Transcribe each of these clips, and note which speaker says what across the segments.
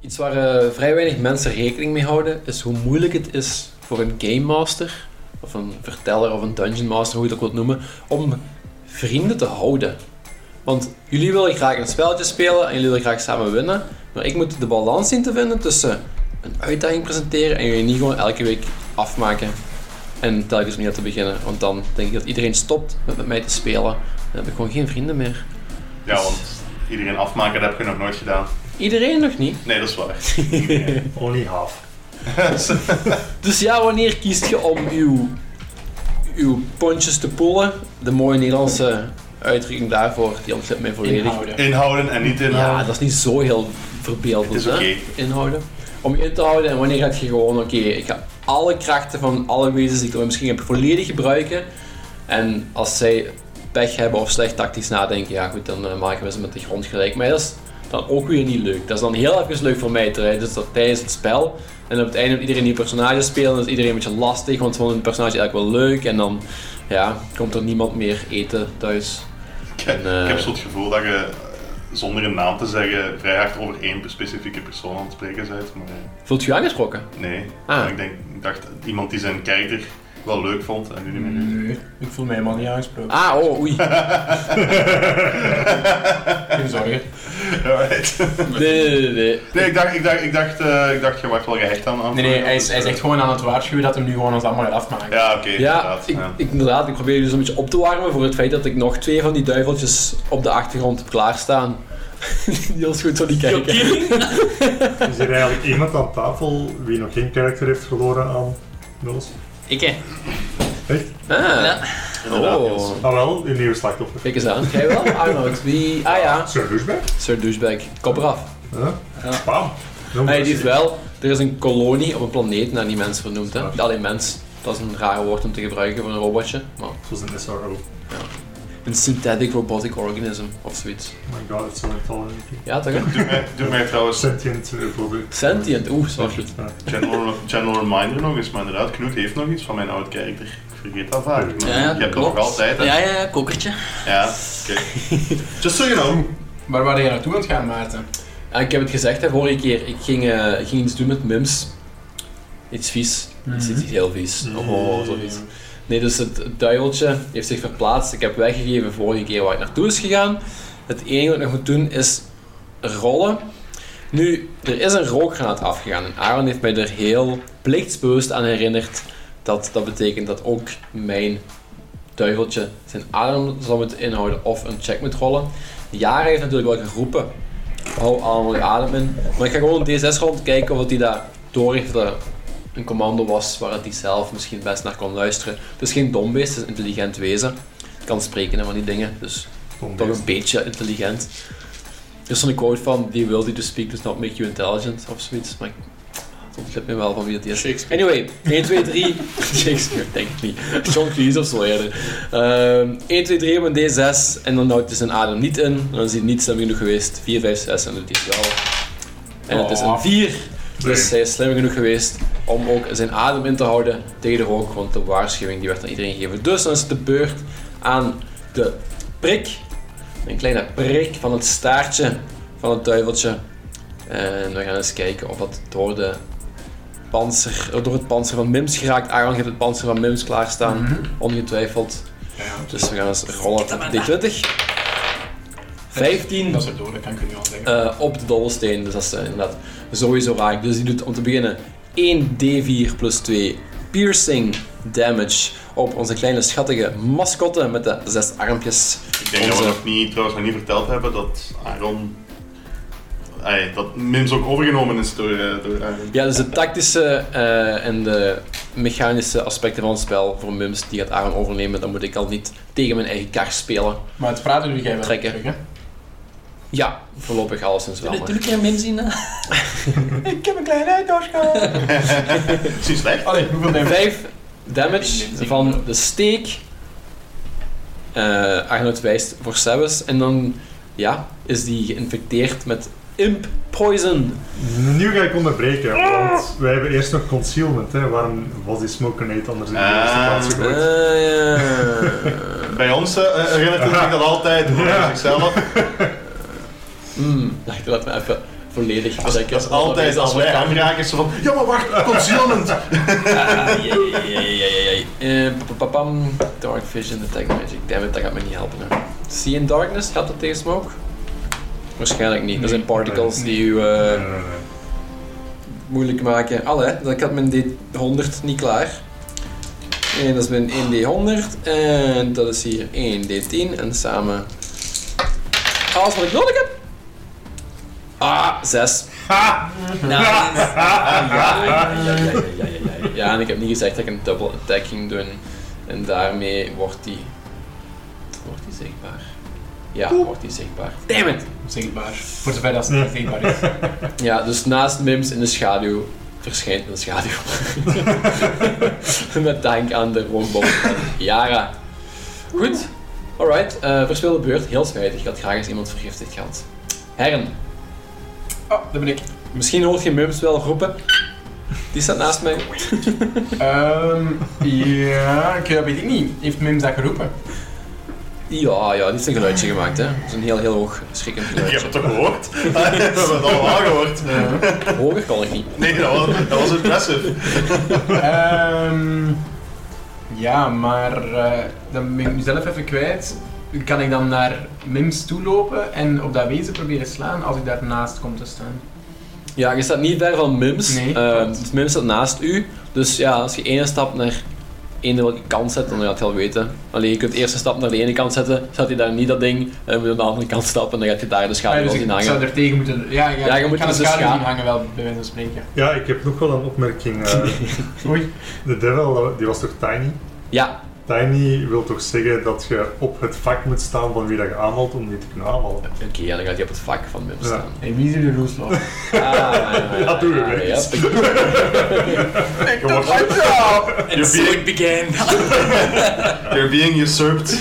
Speaker 1: Iets waar eh, vrij weinig mensen rekening mee houden, is hoe moeilijk het is voor een game master, of een verteller of een dungeon master, hoe je het ook wilt noemen, om vrienden te houden. Want jullie willen graag een spelletje spelen en jullie willen graag samen winnen, maar ik moet de balans zien te vinden tussen een uitdaging presenteren en jullie niet gewoon elke week afmaken en telkens opnieuw te beginnen. Want dan denk ik dat iedereen stopt met met mij te spelen. Dan heb ik gewoon geen vrienden meer.
Speaker 2: Ja, want iedereen afmaken, dat heb je nog nooit gedaan.
Speaker 1: Iedereen nog niet.
Speaker 2: Nee, dat is waar.
Speaker 3: Only half.
Speaker 1: Dus ja, wanneer kiest je om uw, uw pontjes te poelen? De mooie Nederlandse uitdrukking daarvoor, die ontglipt mij volledig.
Speaker 4: inhouden.
Speaker 2: Inhouden en niet inhouden.
Speaker 1: Ja, dat is niet zo heel verbeeldend.
Speaker 2: Het is
Speaker 1: hè?
Speaker 2: oké.
Speaker 1: Inhouden. Om je in te houden en wanneer gaat je gewoon, oké, ik ga alle krachten van alle wezens die ik ooit misschien heb volledig gebruiken. En als zij pech hebben of slecht tactisch nadenken, ja goed, dan eh, maken we ze met de grond gelijk. Maar dat is dan ook weer niet leuk. Dat is dan heel even leuk voor mij terwijl Dus dat tijdens het spel. En op het einde moet iedereen die personage spelen. Dan is iedereen een beetje lastig, want ze vonden het personage eigenlijk wel leuk. En dan ja, komt er niemand meer eten thuis.
Speaker 2: Ik,
Speaker 1: En, eh,
Speaker 2: ik heb zo het gevoel dat je eh, zonder een naam te zeggen vrij hard over één specifieke persoon aan het spreken bent. Maar eh,
Speaker 1: Voelt je aangesproken?
Speaker 2: nee,
Speaker 1: Ah.
Speaker 2: ik, denk, ik dacht iemand die zijn kijker wel leuk vond en nu niet meer.
Speaker 4: Nee, ik voel mij helemaal niet aangesproken.
Speaker 1: Ah, oh, oei.
Speaker 4: Geen zorgen.
Speaker 2: Alright.
Speaker 1: Nee, nee, nee, nee.
Speaker 2: Nee, ik dacht, ik dacht, ik dacht, eh, ik dacht je wacht wel gehecht aan. aan
Speaker 4: Nee, nee, hij is,
Speaker 2: dus,
Speaker 4: hij is
Speaker 2: eh,
Speaker 4: echt gewoon aan het waarschuwen dat hem nu gewoon ons allemaal gaat afmaken.
Speaker 2: Ja, oké,
Speaker 1: Ja,
Speaker 2: inderdaad.
Speaker 1: ik,
Speaker 2: ja.
Speaker 1: ik, inderdaad. Ik probeer dus een beetje op te warmen voor het feit dat ik nog twee van die duiveltjes op de achtergrond heb klaarstaan. die ons goed zo niet kijken.
Speaker 3: Is er eigenlijk iemand aan tafel wie nog geen karakter heeft verloren aan Nulls?
Speaker 5: Ik hè?
Speaker 3: Echt?
Speaker 1: Ah,
Speaker 2: Inderdaad,
Speaker 1: oh.
Speaker 2: Niels.
Speaker 3: Ah wel, een nieuwe slachtoffer.
Speaker 1: Kijk eens aan. Jij wel, Arnold? Wie? Ah ja,
Speaker 3: Sir Douchebag?
Speaker 1: Sir Douchebag. Kop eraf.
Speaker 3: Huh?
Speaker 5: Ja.
Speaker 3: Bam! Dan
Speaker 1: Hij heeft wel... Er is een kolonie op een planeet naar die mens vernoemd. Hè? Alleen mens. Dat is een raar woord om te gebruiken voor een robotje. Maar
Speaker 3: Zoals een SRO. Oh
Speaker 1: een synthetic robotic organism of zoiets.
Speaker 3: my god, het is zo intelligent.
Speaker 1: Ja, toch? hè?
Speaker 2: Doe mij, doe mij trouwens
Speaker 3: Sentient eh, bijvoorbeeld.
Speaker 1: Sentient. Oeh, sorry.
Speaker 3: Ja.
Speaker 2: general, general reminder nog eens, maar inderdaad, Knut heeft nog iets van mijn oud karakter. Ik vergeet dat Ah, vaak. maar
Speaker 5: Ja,
Speaker 2: je hebt dat
Speaker 5: klopt.
Speaker 2: nog altijd, hè?
Speaker 5: Ja, ja, ja, kokkertje.
Speaker 2: Ja, oké. Just so you know.
Speaker 4: Waar waren jij naartoe aan het gaan, Maarten?
Speaker 1: Ja, Ah, ik heb het gezegd hè, vorige keer, ik ging, eh, ik ging iets doen met Mims. Iets vies. Iets, iets heel vies. Oh, oh, zoiets. Nee, dus het duiveltje heeft zich verplaatst. Ik heb weggegeven vorige keer waar ik naartoe is gegaan. Het enige wat ik nog moet doen is rollen. Nu, er is een rookgranaat afgegaan en Aaron heeft mij er heel plichtsbewust aan herinnerd dat dat betekent dat ook mijn duiveltje zijn adem zal moeten inhouden of een check moet rollen. Jaren heeft natuurlijk wel geroepen, hou allemaal je adem in. Maar ik ga gewoon een D6 rond kijken of hij dat door heeft dat een commando was waar het hij zelf misschien best naar kon luisteren. Het is geen dom beest, het is een intelligent wezen. Het kan spreken en van die dingen, dus toch een beetje intelligent. Er is zo'n quote van, the ability to speak does not make you intelligent, of zoiets, maar ik- het ontglipt me wel van wie dat is.
Speaker 4: Shakespeare.
Speaker 1: Anyway, 1, 2, 3, Shakespeare, denk ik niet, John Cleese of zo eerder. Ehm 1, 2, 3 op een D6, en dan houdt hij zijn adem niet in, en dan is hij niet slim genoeg geweest, 4, 5, 6, en doet hij het wel. En het is een
Speaker 4: Oh.
Speaker 1: 4, dus hij is slim genoeg geweest om ook zijn adem in te houden tegen de rook, want de waarschuwing die werd aan iedereen gegeven. Dus dan is het de beurt aan de prik. Een kleine prik van het staartje van het duiveltje. En we gaan eens kijken of dat door, de panzer, door het panzer van Mims geraakt. Aaron heeft het panzer van Mims klaarstaan, ongetwijfeld. Dus we gaan eens rollen op D20. 15
Speaker 4: Dat is erdoor, dat kan ik u nu al zeggen.
Speaker 1: eh, op de dobbelsteen. Dus dat is eh, inderdaad sowieso raak. Dus die doet om te beginnen 1 d4 plus 2 piercing damage op onze kleine schattige mascotte met de zes armpjes.
Speaker 2: Ik denk dat we
Speaker 1: Onze-
Speaker 2: nog niet, trouwens nog niet verteld hebben dat Aaron... Ay, dat Mims ook overgenomen is door, eh, door Aaron.
Speaker 1: Ja, dus de tactische eh, en de mechanische aspecten van het spel voor Mims, die gaat Aaron overnemen. Dan moet ik al niet tegen mijn eigen kar spelen.
Speaker 4: Maar het praten doe jij wel
Speaker 1: Trekken.
Speaker 4: terug, hè?
Speaker 1: Ja, voorlopig alleszins wel.
Speaker 5: Doe
Speaker 1: maar-
Speaker 5: doe ik er een min zien? eh?
Speaker 4: Ik heb een kleine uitdoos gehad.
Speaker 2: Is hij slecht?
Speaker 4: Allee, hoeveel neem je?
Speaker 1: 5 damage van de steek. Eh Arnold wijst voor Sebus. En dan ja, is die geïnfecteerd met imp poison.
Speaker 3: Nu ga ik onderbreken, want wij hebben eerst nog concealment. Hè. Waarom was die smoke grenade anders in de
Speaker 2: Ah.
Speaker 3: eerste plaats
Speaker 1: Eh,
Speaker 3: gegooid?
Speaker 2: Bij ons eh, herinnert hij zich dat altijd, voor
Speaker 3: Ja.
Speaker 2: zichzelf.
Speaker 1: Hmm, wacht, laat me even, even volledig
Speaker 2: Dat is,
Speaker 1: checken.
Speaker 2: dat is altijd als wij aanraken, zo van, ja maar wacht, concealment!
Speaker 1: Ah, jee, jee, jee, jee, jee. Eh, papapam. Dark Vision, Attack Magic. Dammit, dat gaat me niet helpen. Hè. See in Darkness, gaat dat tegen Smoke? Waarschijnlijk niet. Dat zijn particles
Speaker 3: Nee.
Speaker 1: die u eh,
Speaker 3: Nee, nee, nee.
Speaker 1: moeilijk maken. Allee, dat- ik had mijn D100 niet klaar. En dat is mijn 1D100. En dat is hier 1D10. En samen alles wat ik nodig heb. Ah, 6.
Speaker 3: Ha!
Speaker 1: Nou, ja, ja, ja, ja, ja, ja, ja. ja, en ik heb niet gezegd dat ik een double attack ging doen. En daarmee wordt die... Wordt die zichtbaar? Ja, wordt die zichtbaar. Damn it!
Speaker 4: Zichtbaar. Voor zover dat het niet zichtbaar is.
Speaker 1: Ja, dus naast Mims in de schaduw verschijnt een schaduw. Met dank aan de roombom van Yara. Goed, alright. eh verspeelde beurt, heel spijtig. Ik had graag eens iemand vergiftigd gehad. Herren,
Speaker 4: Oh, daar ben ik.
Speaker 1: misschien hoort je Mims wel roepen. Die staat naast mij.
Speaker 4: Ehm, ja, ik eh, weet het niet. Heeft Mims dat geroepen?
Speaker 1: Ja, ja, die is een geluidje gemaakt, hè. Dat is een heel, heel hoog schrikkend
Speaker 2: Je hebt
Speaker 1: geluidje.
Speaker 2: het toch gehoord? We hebben het allemaal gehoord.
Speaker 1: Hoger kan ik niet.
Speaker 2: Nee, dat was, dat was impressive.
Speaker 4: Ehm, ja, maar eh, dan ben ik mezelf even kwijt. Kan ik dan naar Mims toe lopen en op dat wezen proberen slaan als ik daarnaast kom te staan?
Speaker 1: Ja, je staat niet ver van Mims.
Speaker 4: Nee,
Speaker 1: Eh,
Speaker 4: klopt.
Speaker 1: dus Mims staat naast u. Dus ja, als je ene stap naar ene welke kant zet, dan gaat het wel weten. Alleen je kunt eerst een stap naar de ene kant zetten, staat hij daar niet dat ding, en dan moet je aan de andere kant stappen en dan gaat je daar de
Speaker 4: Ah,
Speaker 1: schaduw
Speaker 4: dus
Speaker 1: wel
Speaker 4: ik,
Speaker 1: zien
Speaker 4: ik zou
Speaker 1: hangen.
Speaker 4: er tegen moeten... Ja, ja,
Speaker 1: Ja, je
Speaker 4: ik
Speaker 1: moet
Speaker 4: kan de
Speaker 1: dus
Speaker 4: schaduw
Speaker 1: gaan.
Speaker 4: zien hangen wel, bij wijze van spreken.
Speaker 3: Ja, ik heb nog wel een opmerking. eh.
Speaker 4: Oei.
Speaker 3: de devil, eh, die was toch tiny?
Speaker 1: Ja,
Speaker 3: Tiny wil toch zeggen dat je op het vak moet staan van wie dat je aanvalt om die te kunnen aanvallen.
Speaker 1: oké, ja, dan gaat hij op het vak van Mims
Speaker 3: Ja.
Speaker 1: staan.
Speaker 4: Hey, wie is er de roesloof?
Speaker 1: Ah,
Speaker 3: Ja, doe je
Speaker 1: ah,
Speaker 3: weer.
Speaker 1: ja, begin.
Speaker 2: Je wordt,
Speaker 1: And so it began.
Speaker 2: you're being usurped.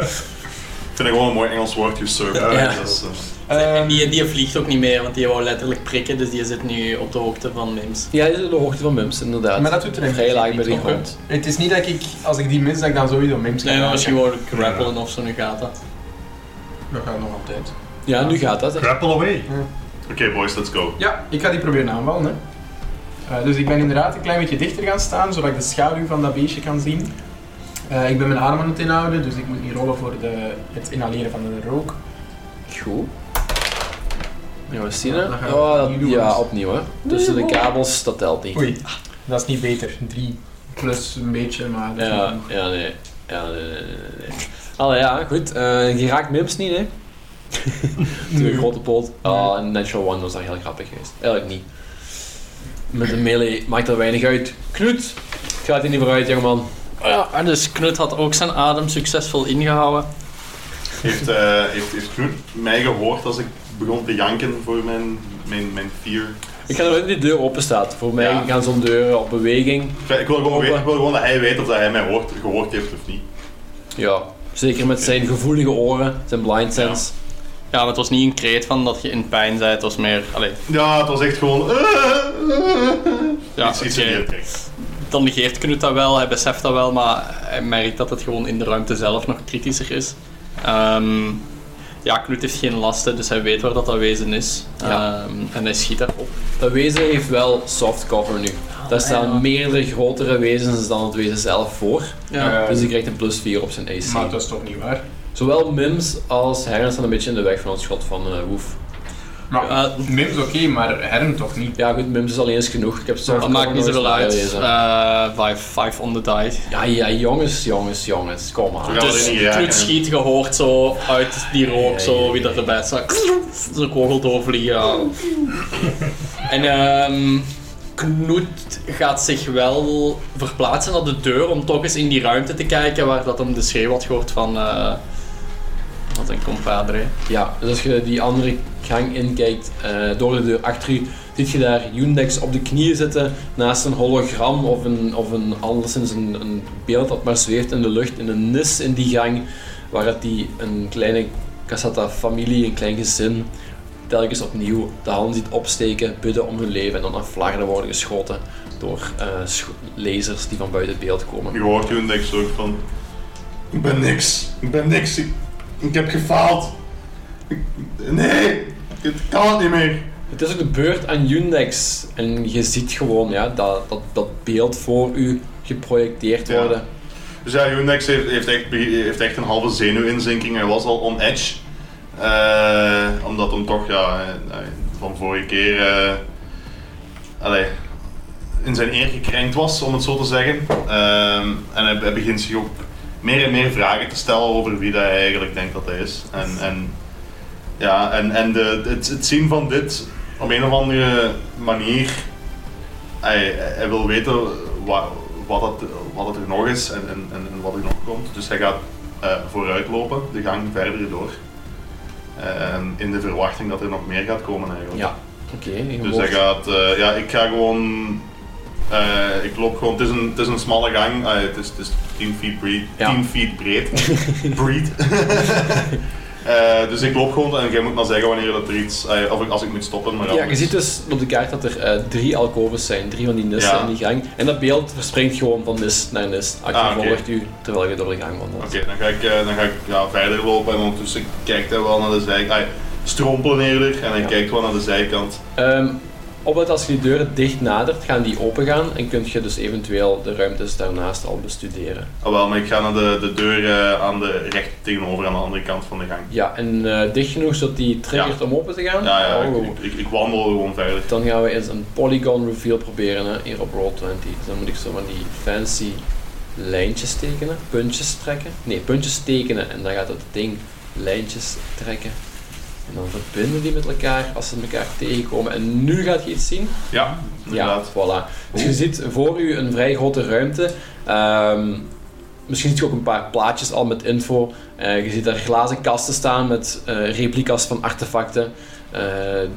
Speaker 2: Ik vind ik gewoon een mooi Engels woord, usurped.
Speaker 1: Ja.
Speaker 2: Dat is, eh,
Speaker 5: En
Speaker 4: Ehm,
Speaker 5: die, die vliegt ook niet meer, want die wou letterlijk prikken, dus die zit nu op de hoogte van Mims.
Speaker 1: Ja, dit is de hoogte van Mims, inderdaad.
Speaker 4: Maar dat doet er
Speaker 1: Vrij
Speaker 4: eigenlijk
Speaker 1: laag bij de
Speaker 5: niet toe.
Speaker 1: grond.
Speaker 4: Het is niet dat ik, als ik die mis, dat ik dan sowieso Mims kan
Speaker 5: Nee, maar
Speaker 4: aangaan.
Speaker 5: misschien gewoon grappelen of zo, nu gaat dat.
Speaker 4: Dat gaat nog altijd.
Speaker 1: Ja, nu gaat dat. hè.
Speaker 3: Grapple away!
Speaker 2: Oké boys, let's go.
Speaker 4: Ja, ik ga die proberen aanvallen. Hè. Eh, dus ik ben inderdaad een klein beetje dichter gaan staan, zodat ik de schaduw van dat beestje kan zien. Eh, ik ben mijn armen aan het inhouden, dus ik moet niet rollen voor de, het inhaleren van de rook.
Speaker 1: Goed. Ja, we zien
Speaker 4: Dan gaan
Speaker 1: hè.
Speaker 4: we
Speaker 1: Oh, dat-
Speaker 4: opnieuw doen. dus.
Speaker 1: ja, opnieuw hè. Tussen de kabels, dat telt niet.
Speaker 4: Oei, dat is niet beter. 3 plus een beetje, maar dat is niet
Speaker 1: Ja,
Speaker 4: genoeg.
Speaker 1: ja, nee. Ja, nee, nee, nee, nee, nee. Allee, ja, goed. Eh, je raakt Mims niet, hè? De grote pot. Ah, een Natural One was daar heel grappig geweest. Eigenlijk niet. Met een melee maakt dat weinig uit. Knut! Gaat hij niet vooruit, jongeman.
Speaker 5: Ja, en dus Knut had ook zijn adem succesvol ingehouden.
Speaker 2: Heeft, eh heeft, heeft Groen mij gehoord als ik begon te janken voor mijn, mijn, mijn fear?
Speaker 1: Ik ga ervan uit dat die deur open staat. Voor mij
Speaker 2: Ja.
Speaker 1: gaan zo'n deuren op beweging.
Speaker 2: Ik wil- Ik wil, gewoon
Speaker 1: Open.
Speaker 2: weten, ik wil gewoon dat hij weet of dat hij mij hoort, gehoord heeft of niet.
Speaker 1: Ja, zeker met zijn gevoelige oren, zijn blind sense.
Speaker 5: Ja, maar het was niet een kreet van dat je in pijn zei, het was meer... Allee,
Speaker 2: Ja, het was echt gewoon... eh, eh, eh.
Speaker 5: ja,
Speaker 2: iets, iets
Speaker 5: oké.
Speaker 2: in die richting.
Speaker 5: Dan negeert Knut dat wel, hij beseft dat wel, maar hij merkt dat het gewoon in de ruimte zelf nog kritischer is. Ehm, ja, Knut heeft geen lasten, dus hij weet waar dat, dat wezen is.
Speaker 1: Ja.
Speaker 5: Ehm, en hij schiet daarop.
Speaker 1: Dat wezen heeft wel soft cover nu. Daar staan meerdere grotere wezens dan het wezen zelf voor.
Speaker 5: Ja.
Speaker 4: Eh,
Speaker 1: Dus hij krijgt een plus 4 op zijn AC.
Speaker 4: maar dat is toch niet waar?
Speaker 1: Zowel Mims als Herren staan een beetje in de weg van het schot van eh Woef.
Speaker 4: Maar,
Speaker 5: Ja.
Speaker 4: Mims oké, maar Herm toch niet?
Speaker 1: Ja goed, Mims is alleen eens genoeg. Ik heb soft
Speaker 5: dat
Speaker 1: cover
Speaker 5: maakt niet
Speaker 1: nooit
Speaker 5: zoveel uit.
Speaker 1: nagelezen.
Speaker 5: Eh, Vijf vijf on the die.
Speaker 1: Ja, ja, jongens, jongens, jongens. Kom maar.
Speaker 2: Ja. dat
Speaker 5: Dus
Speaker 2: is niet raak,
Speaker 5: Knut
Speaker 2: hè.
Speaker 5: schiet gehoord zo uit die rook,
Speaker 1: Ja, ja,
Speaker 5: zo
Speaker 1: ja,
Speaker 5: wie dat erbij staat. Zo'n kogel doorvliegen. ja. En ehm Knut gaat zich wel verplaatsen naar de deur om toch eens in die ruimte te kijken waar dat hem de schreeuw had gehoord van. eh, wat een compadre.
Speaker 1: Ja, dus als je die andere gang inkijkt, eh, door de deur achter u, ziet je daar Yundex op de knieën zitten naast een hologram of een, of een anderszins een, een beeld dat maar zweeft in de lucht in een nis in die gang, waar het die een kleine Casata-familie, een klein gezin, telkens opnieuw de hand ziet opsteken, bidden om hun leven en dan aan flarden worden geschoten door eh, scho- lasers die van buiten beeld komen.
Speaker 2: Je hoort toen dat ik zo van... Ik ben niks. Ik ben niks. Ik, ik heb gefaald. Ik- nee. Dit kan het niet meer.
Speaker 1: Het is ook de beurt aan Undex. En je ziet gewoon ja, dat, dat, dat beeld voor u geprojecteerd
Speaker 2: Ja.
Speaker 1: worden.
Speaker 2: Dus ja, Unix heeft, heeft, echt, be- heeft echt een halve zenuwinzinking. Hij was al on edge. Eh, omdat hem toch, ja, eh, eh, van vorige keer eh, allee, in zijn eer gekrenkt was, om het zo te zeggen. Ehm, en hij, hij begint zich ook meer en meer vragen te stellen over wie dat hij eigenlijk denkt dat hij is. En, en, ja, en, en de, het, het zien van dit op een of andere manier. Hij, hij wil weten wa- wat, het, wat het er nog is en, en, en en wat er nog komt. Dus hij gaat eh, vooruit lopen, de gang verder door. Ehm, in de verwachting dat er nog meer gaat komen eigenlijk.
Speaker 1: Ja, oké. je
Speaker 2: Dus hij
Speaker 1: wordt-
Speaker 2: gaat, eh, ja, ik ga gewoon, eh, ik loop gewoon, het is een, het is een smalle gang, eh, het is, het is 10 feet breed,
Speaker 1: Ja.
Speaker 2: 10 feet breed, breed. Eh, dus ik loop gewoon en jij moet maar zeggen wanneer dat er iets, eh, of ik, als ik moet stoppen, maar
Speaker 1: Ja, je
Speaker 2: anders-
Speaker 1: ziet dus op de kaart dat er eh, drie alcoves zijn, drie van die nisten
Speaker 2: Ja.
Speaker 1: in die gang. En dat beeld verspringt gewoon van nist naar nist. Actie
Speaker 2: Ah, oké.
Speaker 1: volgt u terwijl je door de gang wandelt.
Speaker 2: Oké, dan ga ik, eh, dan ga ik ja, verder lopen en ondertussen kijkt hij wel naar de zijkant. Ah, strompelen eerder en hij
Speaker 1: Ja.
Speaker 2: kijkt wel naar de zijkant.
Speaker 1: Ehm, oplet als je die deuren dicht nadert, gaan die open gaan en kun je dus eventueel de ruimtes daarnaast al bestuderen.
Speaker 2: Ah, wel, maar ik ga naar de, de deur eh, aan de recht tegenover aan de andere kant van de gang.
Speaker 1: Ja, en eh, dicht genoeg zodat die triggert om open te gaan?
Speaker 2: Ja, ja, ik-
Speaker 1: Oh.
Speaker 2: ik, ik, ik wandel gewoon verder.
Speaker 1: Dan gaan we eens een polygon reveal proberen hè, hier op Roll20. Dus dan moet ik zo van die fancy lijntjes tekenen, puntjes trekken. Nee, puntjes tekenen en dan gaat het ding lijntjes trekken. En dan verbinden die met elkaar als ze elkaar tegenkomen. En nu gaat je iets zien.
Speaker 2: Ja,
Speaker 1: Ja,
Speaker 2: inderdaad.
Speaker 1: voilà. Dus je ziet voor u een vrij grote ruimte. Ehm, misschien ziet je ook een paar plaatjes al met info. Eh, je ziet daar glazen kasten staan met eh, replica's van artefacten. eh,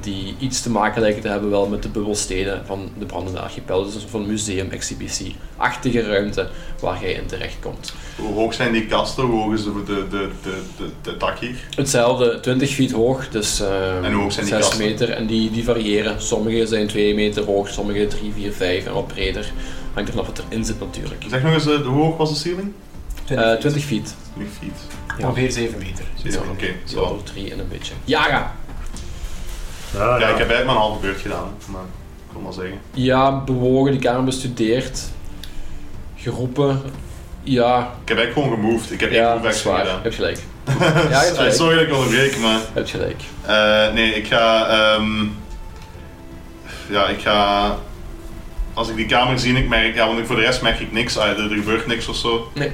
Speaker 1: die iets te maken lijken te hebben wel met de bubbelsteden van de brandende archipel. Dus een soort van museum-exhibitie-achtige ruimte waar jij in terechtkomt.
Speaker 2: Hoe hoog zijn die kasten? Hoe hoog is de, de, de, de, de, de dak hier?
Speaker 1: Hetzelfde, 20 feet hoog, dus eh,
Speaker 2: En hoe hoog zijn die
Speaker 1: 6
Speaker 2: kasten?
Speaker 1: meter. En die, die variëren. Sommige zijn 2 meter hoog, sommige 3, 4, 5 en wat breder. Hangt er vanaf wat erin zit natuurlijk.
Speaker 2: Zeg nog eens, eh, hoe hoog was de ceiling?
Speaker 1: Eh, 20 feet.
Speaker 2: 20 feet.
Speaker 4: Ongeveer 7 meter.
Speaker 2: Zeven, Oké,
Speaker 1: Zo,
Speaker 2: zo.
Speaker 1: door 3 en een beetje. Jaga!
Speaker 3: Ja,
Speaker 2: Ja,
Speaker 3: Ah, ja.
Speaker 2: ik heb eigenlijk maar een halve beurt gedaan, maar ik wil maar zeggen.
Speaker 1: Ja, bewogen, die kamer bestudeerd. Geroepen. Ja,
Speaker 2: Ik heb eigenlijk gewoon gemoved. Ik heb één
Speaker 1: ja,
Speaker 2: move
Speaker 1: dat is
Speaker 2: action
Speaker 1: waar.
Speaker 2: gedaan.
Speaker 1: Heb gelijk. Ja, je hebt
Speaker 2: Eh,
Speaker 1: gelijk.
Speaker 2: Sorry dat ik onderbreek, maar...
Speaker 1: Heb gelijk.
Speaker 2: Eh, nee, ik ga. ehm, ja, ik ga. Als ik die kamer zie, en ik merk. Ja, want ik- voor de rest merk ik niks. Ah, er, er gebeurt niks of zo.
Speaker 1: Nee.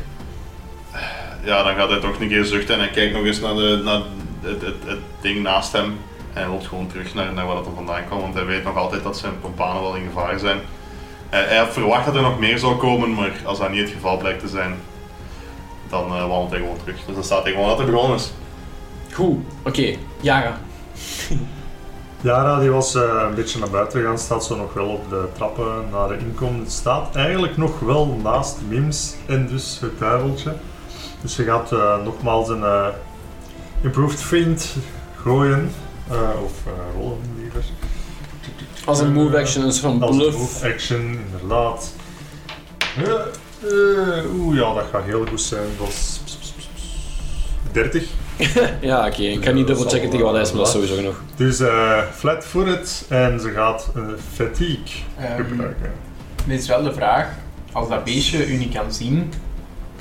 Speaker 2: Ja, dan gaat hij toch een keer zuchten en hij kijkt nog eens naar, de, naar het, het, het ding naast hem. En hij loopt gewoon terug naar, naar waar dat er vandaan kwam, want hij weet nog altijd dat zijn kompanen wel in gevaar zijn. Eh, hij had verwacht dat er nog meer zou komen, maar als dat niet het geval blijkt te zijn, dan eh, wandelt hij gewoon terug. Dus dan staat hij gewoon dat hij begonnen is.
Speaker 1: Goed, oké. Jaga.
Speaker 3: Yara die was eh, een beetje naar buiten gegaan, staat zo nog wel op de trappen naar de inkomst. Staat eigenlijk nog wel naast Mims en dus het duiveltje. Dus ze gaat eh, nogmaals een eh, improved feint gooien. Eh, of eh, rollen liever.
Speaker 1: Als een move action, een soort van
Speaker 3: Als een
Speaker 1: bluff.
Speaker 3: move action, inderdaad. Eh, eh, Oeh ja, dat gaat heel goed zijn. Dat is 30.
Speaker 1: Ja, oké. Ik ga niet dubbel checken tegen wat hij is, maar dat is sowieso genoeg.
Speaker 3: Dus eh flat footed en ze gaat eh, fatigue
Speaker 4: Ehm
Speaker 3: gebruiken.
Speaker 4: dit is wel de vraag, als dat beestje u niet kan zien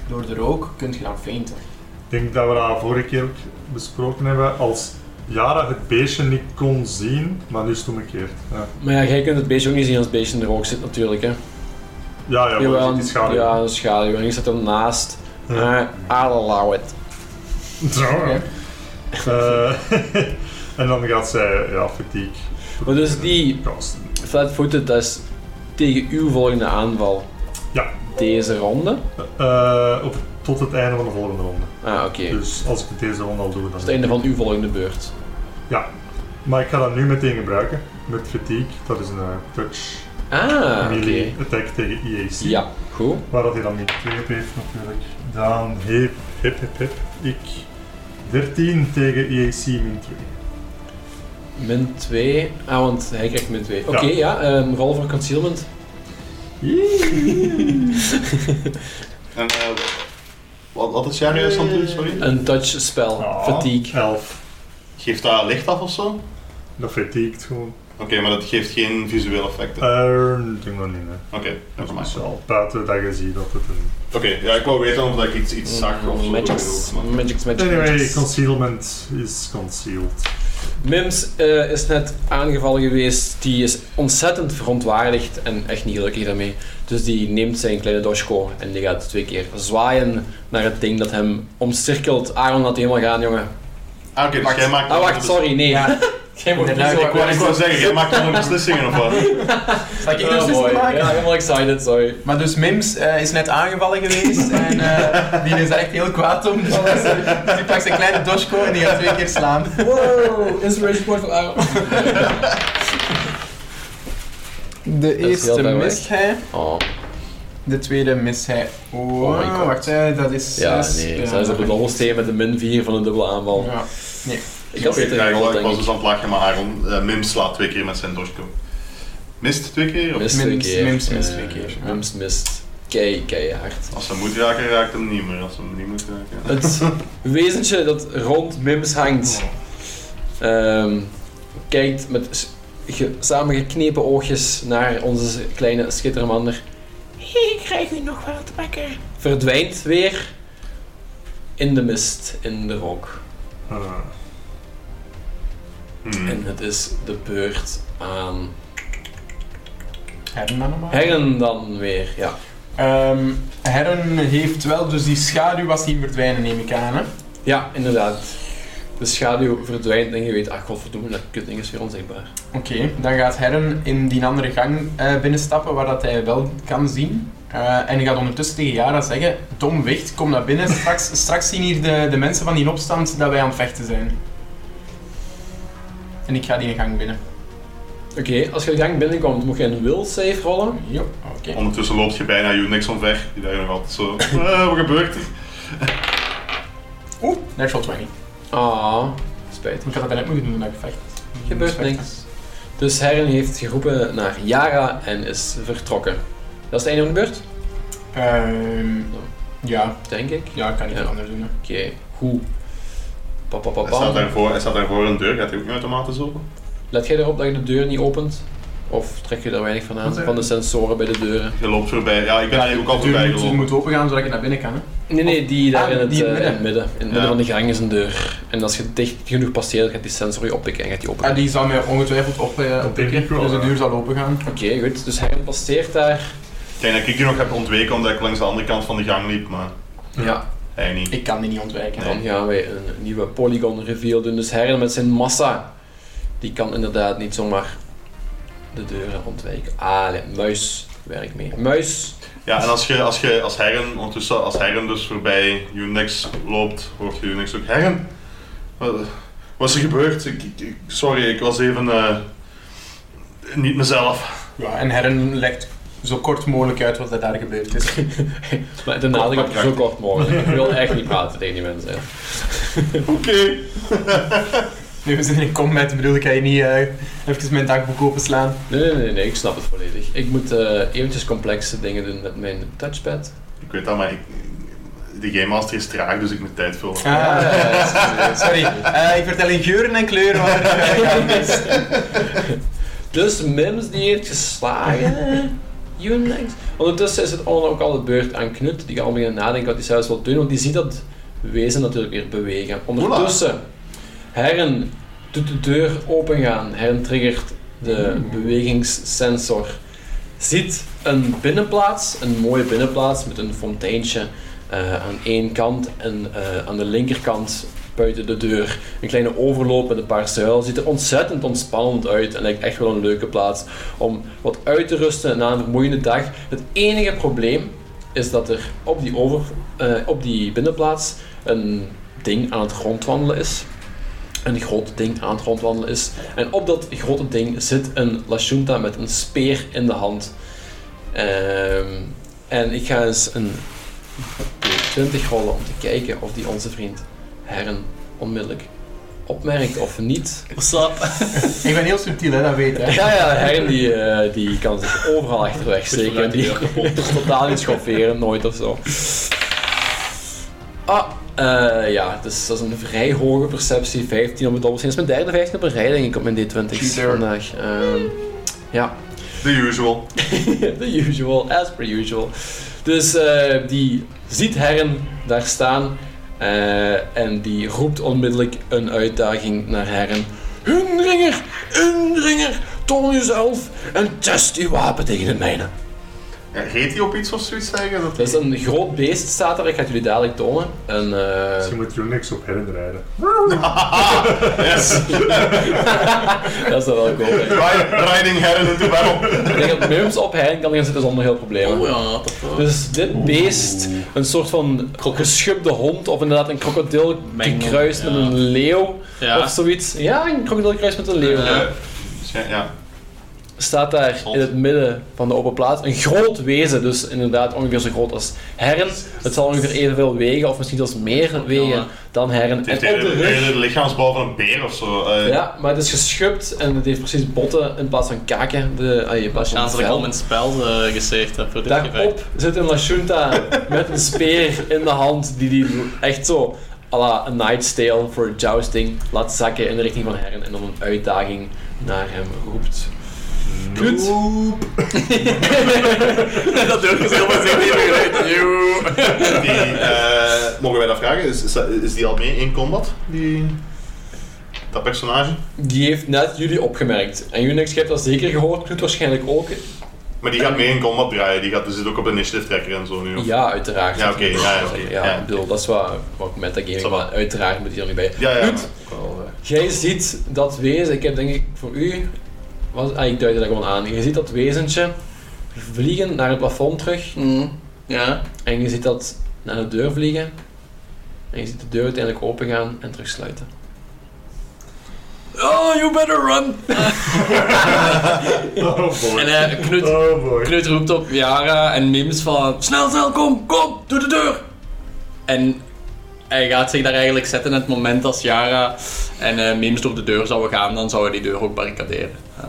Speaker 4: door de rook, kunt je dan feinten.
Speaker 3: Ik denk dat we dat vorige keer ook besproken hebben. Als Jara het beestje niet kon zien, maar nu is het omgekeerd. Ja,
Speaker 1: Maar ja, jij kunt het beestje ook niet zien als het beestje in de rook zit natuurlijk, hè.
Speaker 3: ja, ja maar er zit die schaduw.
Speaker 1: Ja, een schaduw. En je zit ernaast.
Speaker 3: Ja.
Speaker 1: Eh, I'll allow it.
Speaker 3: Zo.
Speaker 4: Oké.
Speaker 3: Eh, en dan gaat zij, ja, fatigue.
Speaker 1: Maar dus die
Speaker 3: casten.
Speaker 1: flatfooted, dat is tegen uw volgende aanval.
Speaker 3: Ja.
Speaker 1: Deze ronde.
Speaker 3: Eh, op, tot het einde van de volgende ronde.
Speaker 1: Ah, oké. Dat
Speaker 3: Dus als ik deze ronde al doe, dan...
Speaker 1: is het einde van uw volgende beurt.
Speaker 3: Maar ik ga dat nu meteen gebruiken. Met fatigue. Dat is een eh, touch
Speaker 1: Ah, oké.
Speaker 3: melee attack tegen EAC.
Speaker 1: Ja, goed.
Speaker 3: Waar dat hij dan niet tegen heeft natuurlijk. Dan hip, hip, hip, hip. Ik 13 tegen EAC min 2.
Speaker 1: Min 2. Ah, want hij krijgt min 2. Oké,
Speaker 3: Ja.
Speaker 1: ja. ehm, rol voor concealment.
Speaker 2: En eh, wat, wat is jouw juist aan het doen, sorry?
Speaker 3: Ah,
Speaker 1: Een touch spel. Fatigue.
Speaker 3: 11.
Speaker 2: Geeft dat licht af of zo?
Speaker 3: Dat fatigued gewoon.
Speaker 2: Oké, maar dat geeft geen visueel effecten.
Speaker 3: Eh, ik denk nog niet, hè.
Speaker 2: Oké, dat is nice.
Speaker 3: Speciaal. Buiten dat je ziet dat het een...
Speaker 2: Oké, ja, ik wou weten of dat ik iets, iets zag of zo.
Speaker 1: Hm, Magics,
Speaker 2: Maar-
Speaker 1: magics, magics,
Speaker 3: Anyway,
Speaker 1: magics.
Speaker 3: concealment is concealed.
Speaker 1: Mims eh, is net aangevallen geweest. Die is ontzettend verontwaardigd en echt niet gelukkig daarmee. Dus die neemt zijn kleine dodgecore en die gaat twee keer zwaaien naar het ding dat hem omcirkelt. Aaron, laat die helemaal gaan, jongen.
Speaker 2: Ah, oké, dus jij maakt...
Speaker 1: Ah, wacht, sorry, nee.
Speaker 4: Ja.
Speaker 1: Jij moet
Speaker 4: Inderdaad,
Speaker 1: kiezen.
Speaker 4: ik
Speaker 2: Ja, ik wou zeggen, jij maakt dan een beslissingen of wat?
Speaker 4: Zal ik
Speaker 1: Oh,
Speaker 4: een beslissing
Speaker 1: boy.
Speaker 4: maken?
Speaker 1: Ja, helemaal excited, sorry.
Speaker 4: Maar dus Mims eh, is net aangevallen geweest en eh, die is daar echt heel kwaad om.
Speaker 1: Oh.
Speaker 4: Dus die, die pakt zijn kleine doshko en die gaat twee keer slaan.
Speaker 1: Wow, inspiration point van Aaron.
Speaker 4: De
Speaker 1: heel
Speaker 4: eerste
Speaker 1: ver weg.
Speaker 4: mist hij,
Speaker 1: Oh,
Speaker 4: de tweede mist hij. Oh,
Speaker 1: Oh my god.
Speaker 4: wacht, hè, dat is
Speaker 1: ja,
Speaker 4: zes.
Speaker 1: nee. Zij is op het dobbelsteen met een min 4 van een dubbele aanval.
Speaker 4: Ja.
Speaker 1: Ik had
Speaker 2: Oké,
Speaker 1: beter
Speaker 2: ja, ik
Speaker 1: gerold,
Speaker 2: was- ik was
Speaker 1: denk
Speaker 2: dus
Speaker 1: ik.
Speaker 2: aan het lachen, maar Aaron, eh, Mim slaat twee keer met zijn doshko. Mist twee keer? Of?
Speaker 1: Mist twee
Speaker 4: Mims-
Speaker 1: keer.
Speaker 4: Mims mist
Speaker 1: Eh,
Speaker 4: twee keer, ja.
Speaker 1: Mims mist kei, keihard.
Speaker 2: Als ze moet raken, raakt hem niet meer. Als ze hem niet moet raken...
Speaker 1: Het wezentje dat rond Mims hangt, ehm, kijkt met s- ge- samengeknepen oogjes naar onze kleine schittermander. Ik krijg u nog wel te pakken. Verdwijnt weer in de mist, in de rook.
Speaker 3: Eh,
Speaker 2: Hmm.
Speaker 1: En het is de beurt aan
Speaker 4: Herren dan nog maar.
Speaker 1: Hengen dan weer. Ja.
Speaker 4: Ehm, Herren heeft wel, dus die schaduw was zien verdwijnen, neem ik aan. Hè?
Speaker 1: ja, inderdaad. De schaduw verdwijnt en je weet, ach godverdomme, dat kutding is weer onzichtbaar.
Speaker 4: Oké, dan gaat Herren in die andere gang eh, binnenstappen waar dat hij wel kan zien. Eh, en hij gaat ondertussen tegen Jara zeggen: Dom wicht, kom naar binnen. Straks, straks zien hier de, de mensen van die opstand dat wij aan het vechten zijn. En ik ga die gang binnen.
Speaker 1: Oké, als je de gang binnenkomt, moet je een will save rollen.
Speaker 4: Jo, oké.
Speaker 2: Ondertussen loopt je bijna Unix omver. Die daar nog altijd zo... Eh, wat gebeurt er?
Speaker 4: Oeh, natural 20.
Speaker 1: Ah, spijt.
Speaker 4: Ik had dat bijna moeten doen dat ik vecht.
Speaker 1: Gebeurt
Speaker 4: Vechten.
Speaker 1: niks. Dus Herren heeft geroepen naar Yara en is vertrokken. Dat is het einde van de beurt,
Speaker 4: Ehm, ja,
Speaker 1: denk ik.
Speaker 4: ja, ik kan niet
Speaker 1: Ja.
Speaker 4: veel anders doen. hè.
Speaker 1: Oké, goed. Papa, papa.
Speaker 2: Hij staat, daarvoor, hij staat daarvoor een deur. Gaat hij ook niet automatisch open?
Speaker 1: Let jij erop dat je de deur niet opent? Of trek je er weinig van aan?
Speaker 4: Wat zeg je?
Speaker 1: Van de sensoren bij de deuren?
Speaker 2: Je loopt voorbij. Ja, ik ben
Speaker 4: de
Speaker 2: eigenlijk ook al
Speaker 4: deur
Speaker 2: voorbij
Speaker 4: moet,
Speaker 2: gelopen.
Speaker 4: moet opengaan zodat ik naar binnen kan. Hè.
Speaker 1: Nee, nee, die daar
Speaker 4: Ah,
Speaker 1: in, het,
Speaker 4: die in
Speaker 1: eh,
Speaker 4: het midden.
Speaker 1: in het midden. In het midden
Speaker 2: Ja.
Speaker 1: van de gang is een deur. En als je dicht genoeg passeert, gaat die sensor je oppikken en gaat die open.
Speaker 4: Ah, die zal mij ongetwijfeld op, eh,
Speaker 3: denk
Speaker 4: oppikken,
Speaker 3: ik wel,
Speaker 4: dus de
Speaker 3: ja.
Speaker 4: deur zal open gaan.
Speaker 1: Oké, goed. Dus Herren passeert daar.
Speaker 2: Ik denk dat ik die nog heb ontweken omdat ik langs de andere kant van de gang liep, maar
Speaker 3: Ja.
Speaker 1: Ja,
Speaker 2: hij niet.
Speaker 4: Ik kan die niet ontwijken.
Speaker 1: dan gaan wij een nieuwe polygon reveal doen. Dus Herren met zijn massa, die kan inderdaad niet zomaar de deuren ontwijken. Ah, nee, muis. Werk mee. Muis.
Speaker 2: Ja, en als, je, als, je, als Herren ondertussen, als Herren dus voorbij Unix loopt, hoort je Unix ook Herren. Wat, wat is er gebeurd? Ik, ik- ik- sorry, ik was even eh, niet mezelf.
Speaker 4: Ja, en Herren legt zo kort mogelijk uit wat er daar gebeurd is.
Speaker 1: Maar de
Speaker 2: maar
Speaker 1: nadruk zo
Speaker 2: krachtig.
Speaker 1: kort mogelijk. Ik wil echt niet praten tegen die mensen.
Speaker 2: Oké.
Speaker 4: Nu we zijn in combat, bedoel ik, ga je niet eh, even mijn dagboek openslaan. Ah,
Speaker 1: Nee, nee, nee, nee, ik snap het volledig. Ik moet eh, eventjes complexe dingen doen met mijn touchpad.
Speaker 2: Ik weet dat, maar ik, de Game Master is traag, dus ik moet tijd vullen.
Speaker 4: Ah, sorry. sorry. Eh, ik vertel in geuren en kleuren wat er eh, gaande is.
Speaker 1: Dus Mims die heeft geslagen. Unix. Ondertussen is het allemaal ook al de beurt aan Knut. Die gaat al beginnen nadenken wat hij zelfs wil doen. Want die ziet dat wezen natuurlijk weer bewegen. Ondertussen, Herren doet de deur opengaan. Herren triggert de bewegingssensor. Ziet een binnenplaats, een mooie binnenplaats met een fonteintje eh, aan één kant. En eh, aan de linkerkant, buiten de deur, een kleine overloop met een paar zuilen. Ziet er ontzettend ontspannend uit en lijkt echt wel een leuke plaats om wat uit te rusten na een vermoeiende dag. Het enige probleem is dat er op die, over, eh, op die binnenplaats een ding aan het rondwandelen is. Een groot ding aan het rondwandelen is. En op dat grote ding zit een Lashunta met een speer in de hand. Ehm, en ik ga eens een 20 rollen om te kijken of die onze vriend Herren onmiddellijk opmerkt of niet.
Speaker 5: What's up?
Speaker 4: Ik ben heel subtiel, hè, dat weet je. hè.
Speaker 1: Ja, ja, Herren die, eh, die kan zich overal achterweg steken. Die is totaal niet schofferen, nooit of zo. Ah, Eh, ja, dus dat is een vrij hoge perceptie. 15 op het dobbelsteen. Dat is mijn derde 15 op een rij, denk ik, op mijn D20
Speaker 4: Cheater.
Speaker 1: vandaag. Ehm, ja,
Speaker 2: The usual.
Speaker 1: the usual, as per usual. Dus eh, die ziet Herren daar staan eh, en die roept onmiddellijk een uitdaging naar Herren. Hundringer, hundringer, toon jezelf en test uw wapen tegen het mijne.
Speaker 2: Ja, reed hij op iets of zoiets zeggen? Dat...
Speaker 1: Dat is een groot beest, staat er. Ik ga het jullie dadelijk tonen. En, eh,
Speaker 3: Misschien moet Unix op herren rijden.
Speaker 2: Yes!
Speaker 1: dat is dan wel cool. hè.
Speaker 2: Ride- Riding Heron into battle.
Speaker 1: Ik denk dat Murms op Herren kan gaan zitten zonder heel problemen.
Speaker 5: Oh ja, dat wel.
Speaker 1: Dus dit beest, een soort van geschubde hond of inderdaad een krokodil
Speaker 5: Mengel,
Speaker 1: gekruist met
Speaker 5: ja.
Speaker 1: een leeuw
Speaker 5: Ja.
Speaker 1: of zoiets. Ja, een krokodil gekruist met een leeuw.
Speaker 5: Ja.
Speaker 1: hè.
Speaker 2: Dus Ja, ja.
Speaker 1: Staat daar
Speaker 2: Zot.
Speaker 1: in het midden van de open plaats. Een groot wezen, dus inderdaad ongeveer zo groot als herren. Het zal ongeveer evenveel wegen of misschien zelfs meer wegen
Speaker 5: ja.
Speaker 1: dan herren.
Speaker 2: Het heeft
Speaker 1: En op de
Speaker 2: de
Speaker 1: rug...
Speaker 2: hele lichaamsbouw van een beer of zo. eh.
Speaker 1: Ja, maar het is geschubt en het heeft precies botten in plaats van kaken. De, ah, in plaats van
Speaker 5: Chance dat ik
Speaker 1: vel.
Speaker 5: al mijn spel eh geseerd heb voor dit gevecht.
Speaker 1: Daarop zit een Lashunta met een speer in de hand die die echt zo à la een Knight's Tale voor jousting laat zakken in de richting van Herren en dan een uitdaging naar hem roept. Goed.
Speaker 5: dat durf ik dus zelf maar zeggen.
Speaker 2: Die, eh, mogen wij dat vragen? Is, is, dat- is die al mee in combat? Die... Dat personage?
Speaker 1: Die heeft net jullie opgemerkt. En Unix heeft dat zeker gehoord, Knut waarschijnlijk ook.
Speaker 2: Maar die gaat mee in combat draaien. Die gaat, die zit ook op de initiative tracker en zo nu. of?
Speaker 1: Ja, uiteraard.
Speaker 2: Ja, oké, ja, ja, oké, ja.
Speaker 1: ik bedoel, dat is wat, wat ik metagaming,
Speaker 2: Ça va.
Speaker 1: maar uiteraard moet hij er niet bij.
Speaker 2: Ja, ja.
Speaker 1: Goed. Jij ziet dat wezen, ik heb denk ik voor u, was, ah, ik duidde dat gewoon aan. Je ziet dat wezentje vliegen naar het plafond terug
Speaker 5: Mm, Ja.
Speaker 1: en je ziet dat naar de deur vliegen en je ziet de deur uiteindelijk opengaan en terugsluiten.
Speaker 5: Oh, you better run!
Speaker 3: Oh boy.
Speaker 5: En eh Knut,
Speaker 3: Oh boy.
Speaker 5: Knut roept op Yara en Mims van... Snel, snel, kom, kom, doe de deur! En hij gaat zich daar eigenlijk zetten in het moment als Yara en eh, Mims door de deur zouden gaan, dan zou hij die deur ook barricaderen. Eh,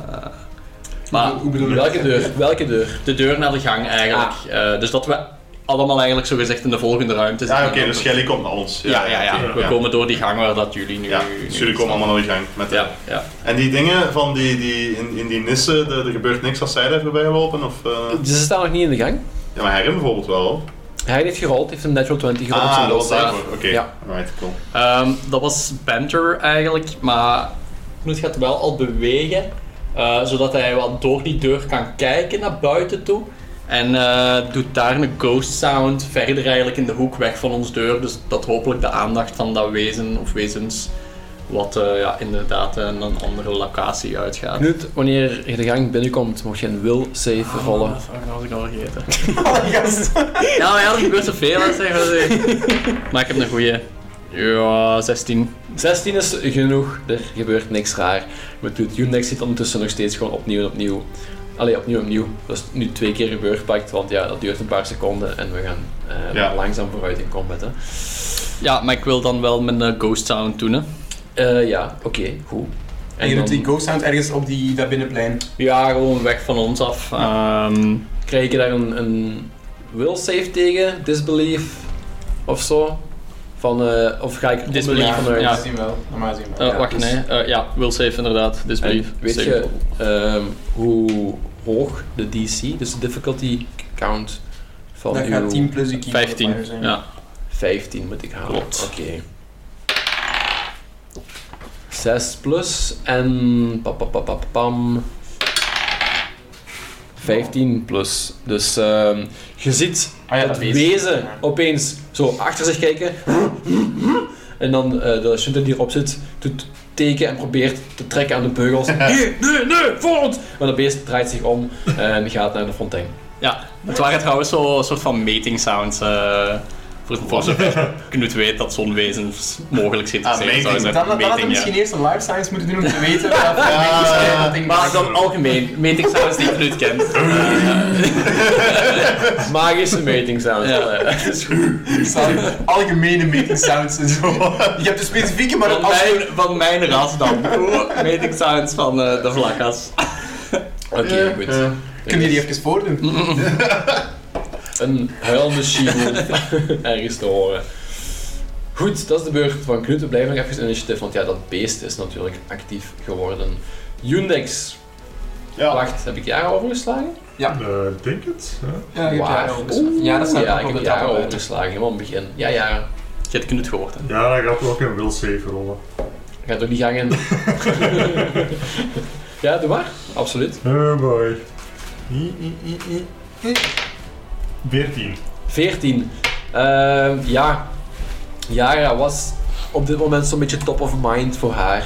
Speaker 5: maar
Speaker 4: Hoe bedoel je dat?
Speaker 1: Welke deur? Welke deur?
Speaker 5: de deur naar de gang eigenlijk. Eh, dus dat we allemaal eigenlijk zogezegd in de volgende ruimte
Speaker 2: Ja,
Speaker 5: zitten.
Speaker 2: oké, dus Shelly komt naar ons.
Speaker 5: Ja, ja, ja.
Speaker 2: oké,
Speaker 5: We komen door die gang waar dat jullie nu...
Speaker 2: Ja,
Speaker 5: nu-
Speaker 2: dus jullie komen allemaal naar de gang. Met de-
Speaker 5: Ja, ja.
Speaker 2: En die dingen van die, die in, in die nissen, de- er gebeurt niks als zij daar voorbij lopen? Of, eh,
Speaker 1: Dus ze staan nog niet in de gang.
Speaker 2: Ja, maar Herin bijvoorbeeld wel.
Speaker 1: Hij heeft gerold, heeft een natural 20 gerold. op
Speaker 2: Ah,
Speaker 1: zijn
Speaker 2: dat was
Speaker 1: doel.
Speaker 2: daarvoor. Oké,
Speaker 1: Ja.
Speaker 2: right, cool.
Speaker 5: Ehm, dat was banter eigenlijk, maar Knut gaat wel al bewegen, eh, zodat hij wel door die deur kan kijken naar buiten toe. En eh, doet daar een ghost sound verder eigenlijk in de hoek weg van ons deur. Dus dat hopelijk de aandacht van dat wezen of wezens wat eh, ja, inderdaad eh, naar een andere locatie uitgaat.
Speaker 1: Knut, wanneer je de gang binnenkomt, mocht je een will save rollen.
Speaker 5: Ah, fuck, dat was ik al vergeten.
Speaker 4: Oh,
Speaker 5: ja, maar ja, er gebeurt zoveel, hè, zeg maar. zeg. Maar ik heb een goeie. Ja, 16.
Speaker 1: 16 is genoeg, er gebeurt niks raar. Met doet Unix zit ondertussen nog steeds gewoon opnieuw en opnieuw. Allee, opnieuw en opnieuw. Dat is nu twee keer gebeurd pakt, want ja, dat duurt een paar seconden en we gaan eh,
Speaker 2: Ja.
Speaker 1: langzaam vooruit in combat. Hè.
Speaker 5: Ja, maar ik wil dan wel mijn eh, ghost sound doen, hè.
Speaker 1: Eh, ja, oké, goed.
Speaker 4: En je doet die ghost sound ergens op die, dat binnenplein.
Speaker 5: Ja, gewoon weg van ons af. Ehm,
Speaker 1: krijg je daar een, een will save tegen, disbelief of zo? Van, eh, of ga ik er
Speaker 5: Disbelief,
Speaker 1: onbelief vanuit?
Speaker 5: Ja.
Speaker 4: Normaal zien wel. Normaal zien wel.
Speaker 5: eh,
Speaker 4: ja.
Speaker 5: wacht,
Speaker 1: dus-
Speaker 5: nee. Eh, ja, will save inderdaad. Disbelief.
Speaker 1: En weet
Speaker 5: Save.
Speaker 1: je ehm, hoe hoog de DC, dus de difficulty count van
Speaker 4: Dat
Speaker 1: uw...
Speaker 4: gaat 10 plus die key
Speaker 5: 15.
Speaker 4: modifier zijn.
Speaker 5: Ja.
Speaker 1: 15 moet ik halen.
Speaker 5: Klopt.
Speaker 1: Oké. 6 plus en. pap, pap, pap, pap, pam. 15 plus. Dus ehm, je ziet
Speaker 4: Ah ja,
Speaker 1: het
Speaker 4: dat
Speaker 1: wezen,
Speaker 4: wezen.
Speaker 1: opeens zo achter zich kijken. En dan eh, de Shunta die erop zit, doet teken en probeert te trekken aan de beugels. Nee, nee, nee, voor ons! Maar dat beest draait zich om en gaat naar de fontein.
Speaker 5: ja, het waren trouwens zo'n soort van mating sounds. eh voor voor zover Knut weet dat zo'n wezens mogelijk zit.
Speaker 2: Ah, mating.
Speaker 4: Dan, dan hadden we misschien eerst een life science moeten doen om te weten wat voor mensen zijn dat ding
Speaker 5: Maar
Speaker 4: maakt.
Speaker 5: dan algemeen, mating sounds die Knut kent.
Speaker 1: Magische meting sounds.
Speaker 5: Ja.
Speaker 1: Dat is goed.
Speaker 4: Er staan Algemene meeting sounds en zo. Je hebt de specifieke, maar
Speaker 5: van,
Speaker 4: dan als je-
Speaker 5: mijn, van mijn ras dan. Oh, mating sounds van eh, de vlakkas.
Speaker 1: Oké,
Speaker 2: Eh,
Speaker 1: goed.
Speaker 2: eh.
Speaker 4: Kun je die even voordoen?
Speaker 1: een huilmachine ergens te horen. Goed, dat is de beurt van Knut. We blijven nog even in initiatief, want ja, dat beest is natuurlijk actief geworden. Yundex.
Speaker 2: Ja,
Speaker 1: Wacht, heb ik jaren overgeslagen?
Speaker 3: Eh, Ik denk het. hè.
Speaker 4: Ja, je hebt
Speaker 1: Waar?
Speaker 4: jaren overgeslagen. Ja, dat staat
Speaker 1: ja,
Speaker 4: ook
Speaker 1: ik
Speaker 4: op de
Speaker 1: heb jaren
Speaker 4: tafel. bij.
Speaker 1: overgeslagen, helemaal in het begin. Ja, ja.
Speaker 5: Je hebt Knut gehoord, hè?
Speaker 3: Ja, dan gaat er ook een will save rollen.
Speaker 1: Gaat ook niet gangen. ja, doe maar. Absoluut.
Speaker 3: Oh boy. I, I, I, I, I. 14.
Speaker 1: 14. Ehm, ja. Yara was op dit moment zo'n beetje top of mind voor haar.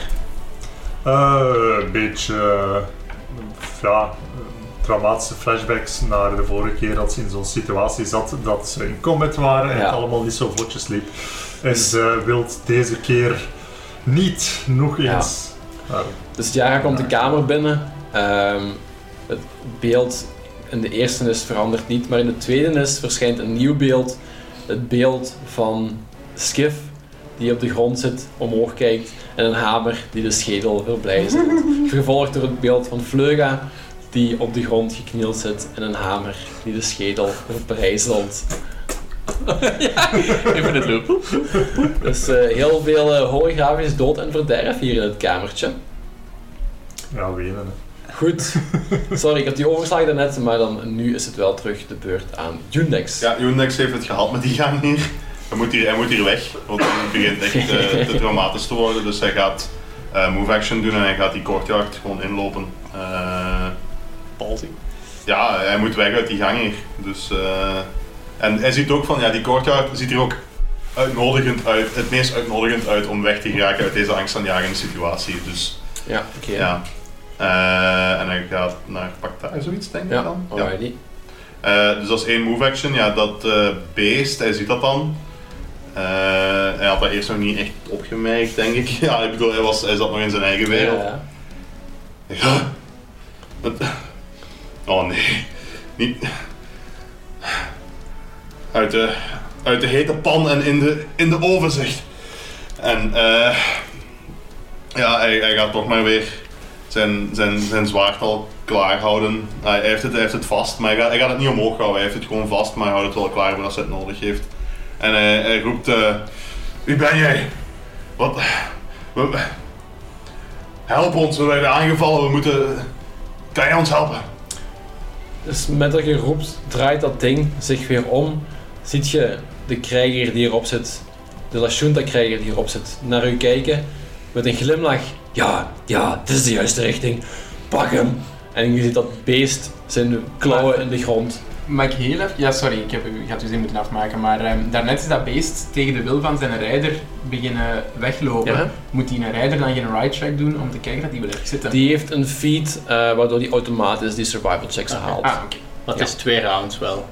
Speaker 3: Eh, een beetje eh, ja, eh, traumatische flashbacks naar de vorige keer dat ze in zo'n situatie zat dat ze in combat waren en
Speaker 1: Ja.
Speaker 3: het allemaal niet zo vlotjes liep. En ze wil deze keer niet nog
Speaker 1: Ja.
Speaker 3: eens. Maar,
Speaker 1: Dus Yara komt de kamer binnen. Ehm, het beeld in de eerste is verandert niet, maar in de tweede is verschijnt een nieuw beeld. Het beeld van Skiff die op de grond zit, omhoog kijkt en een hamer die de schedel verblijzelt. Gevolgd door het beeld van Fleuga die op de grond geknield zit en een hamer die de schedel verbrijzelt.
Speaker 5: Even het lopen.
Speaker 1: Dus eh, heel veel eh, holografisch dood en verderf hier in het kamertje.
Speaker 3: ja, wenen. hè.
Speaker 1: Goed. Sorry, ik had die overslag daarnet, maar dan, nu is het wel terug de beurt aan Undex.
Speaker 2: ja Yundex heeft het gehad met die gang hier. Hij moet hier, hij moet hier weg, want het begint echt eh, te traumatisch te worden. Dus hij gaat eh, move action doen en hij gaat die courtyard gewoon inlopen. Eh,
Speaker 5: Palsy.
Speaker 2: ja, hij moet weg uit die gang hier. Dus, eh, en hij ziet ook van, ja, die courtyard ziet er ook uitnodigend uit, het meest uitnodigend uit om weg te geraken uit deze angstaanjagende situatie. Dus
Speaker 1: Ja, oké.
Speaker 2: ja. Eh, en hij gaat naar Pacta, zoiets denk ik
Speaker 1: Ja,
Speaker 2: dan. Ja.
Speaker 1: alrighty.
Speaker 2: Eh, dus dat is één move action. Ja, dat eh, beest, hij ziet dat dan. Eh, hij had dat eerst nog niet echt opgemerkt, denk ik. Ja, ik bedoel, hij, was, hij zat nog in zijn eigen wereld.
Speaker 1: Ja,
Speaker 2: Ja. Wat? Oh nee. Niet. Uit de, uit de hete pan en in de, in de oven, zegt. En eh. Ja, hij, hij gaat toch maar weer zijn, zijn, zijn zwaard al klaar houden. Hij hij heeft het, hij heeft het vast, maar hij gaat, hij gaat het niet omhoog houden. Hij heeft het gewoon vast, maar hij houdt het wel klaar voor als hij het nodig heeft. En hij, hij roept: eh, Wie ben jij? Wat. wat- Help ons, we werden aangevallen, we moeten. Kan jij ons helpen?
Speaker 1: Dus met dat geroep draait dat ding zich weer om. Ziet je de krijger die erop zit, de Lashunta-krijger die erop zit, naar u kijken met een glimlach. Ja, ja, dit is de juiste richting. Pak hem! En je ziet dat beest zijn klauwen in de grond.
Speaker 4: Mag ik heel even... Ja, sorry, ik, heb, u- ik had uw zin moeten afmaken, maar ehm, daarnet is dat beest tegen de wil van zijn rijder beginnen weglopen.
Speaker 1: Ja.
Speaker 4: Moet die een rijder dan geen ride track doen om te kijken dat die blijft zitten?
Speaker 1: Die heeft een feed eh, waardoor die automatisch die survival checks haalt.
Speaker 4: Ah, oké.
Speaker 5: Maar het
Speaker 1: Ja.
Speaker 5: is twee rounds wel.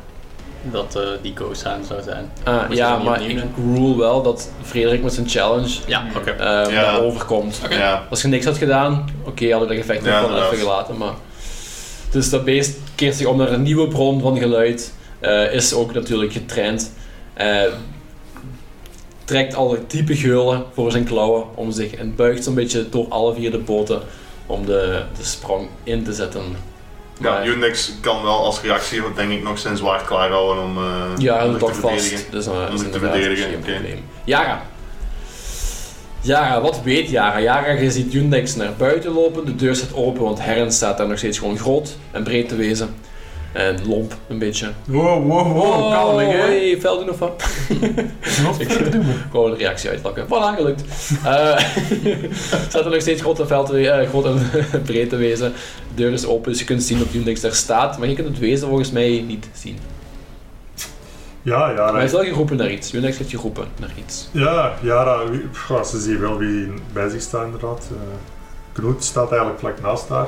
Speaker 5: Dat eh, die ghost hand zou zijn.
Speaker 1: Ah,
Speaker 5: Moet je
Speaker 1: ja,
Speaker 5: dat niet
Speaker 1: maar
Speaker 5: opnieuw
Speaker 1: ik rule wel dat Frederik met zijn challenge
Speaker 5: Ja, oké.
Speaker 1: eh
Speaker 2: Ja.
Speaker 1: daarover komt.
Speaker 5: Oké.
Speaker 2: Ja.
Speaker 1: Als je niks had gedaan, oké, hadden we dat effect nog
Speaker 2: Ja,
Speaker 1: wel even
Speaker 2: inderdaad.
Speaker 1: gelaten. Maar... Dus dat beest keert zich om naar een nieuwe bron van geluid. eh, is ook natuurlijk getraind. eh, trekt alle diepe geulen voor zijn klauwen om zich en buigt zo'n beetje door alle vier de poten om de, de sprong in te zetten.
Speaker 2: Ja,
Speaker 1: Maar-
Speaker 2: Unix kan wel als reactie, want denk ik, nog zijn zwaard klaar houden om. eh
Speaker 1: Ja, hij
Speaker 2: om zich
Speaker 1: doet dat
Speaker 2: te
Speaker 1: vast.
Speaker 2: verdedigen.
Speaker 1: Dus dan
Speaker 2: Om
Speaker 1: is
Speaker 2: zich te
Speaker 1: inderdaad
Speaker 2: verdedigen,
Speaker 1: geen
Speaker 2: oké.
Speaker 1: probleem. Yara. Yara, wat weet Yara? Yara, je ziet Yundex naar buiten lopen. De deur staat open, want Herren staat daar nog steeds gewoon groot en breed te wezen. En lomp, een beetje.
Speaker 4: Wow, wow, wow, kalm, hè?
Speaker 1: hey, fel doen of wat? Gewoon een reactie uitlokken. Voilà, gelukt. Eh, staat er nog steeds groot en, fel te we- eh, groot en breed te wezen. De deur is open, dus je kunt zien dat Yundex daar staat. Maar je kunt het wezen volgens mij niet zien.
Speaker 3: Ja, ja,
Speaker 1: Maar hij is wel geroepen naar iets. Yundex heeft geroepen naar iets.
Speaker 3: Ja, Jara, wie, pff, ja, ze zien wel wie bij zich staat inderdaad. Eh Knoet staat eigenlijk vlak naast haar.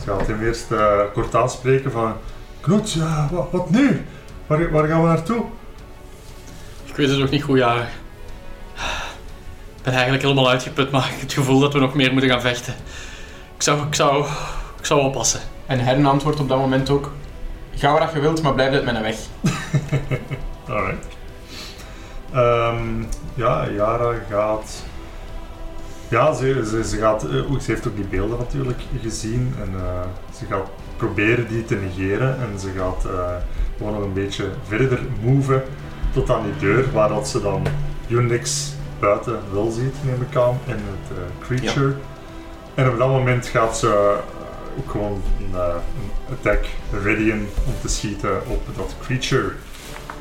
Speaker 3: Ze gaat hem eerst eh, kort aanspreken van... Knoet, ja, wat, wat nu? Waar, waar gaan we naartoe?
Speaker 5: Ik weet het ook niet goed, ja. Ik ben eigenlijk helemaal uitgeput, maar ik heb het gevoel dat we nog meer moeten gaan vechten. Ik zou, ik zou, ik zou oppassen.
Speaker 4: En Hern antwoordt op dat moment ook... Ga waar je wilt, maar blijf uit mijn weg.
Speaker 3: Alright. Ehm, ja, Jara gaat... Ja, ze, ze, ze gaat... eh, ook- ze heeft ook die beelden natuurlijk gezien. En eh, ze gaat proberen die te negeren. En ze gaat eh, gewoon nog een beetje verder moven tot aan die deur, waar dat ze dan je niks buiten wel ziet, neem ik aan, en het eh, creature. En op dat moment gaat ze eh, ook gewoon een, eh, een attack readyen om te schieten op dat creature.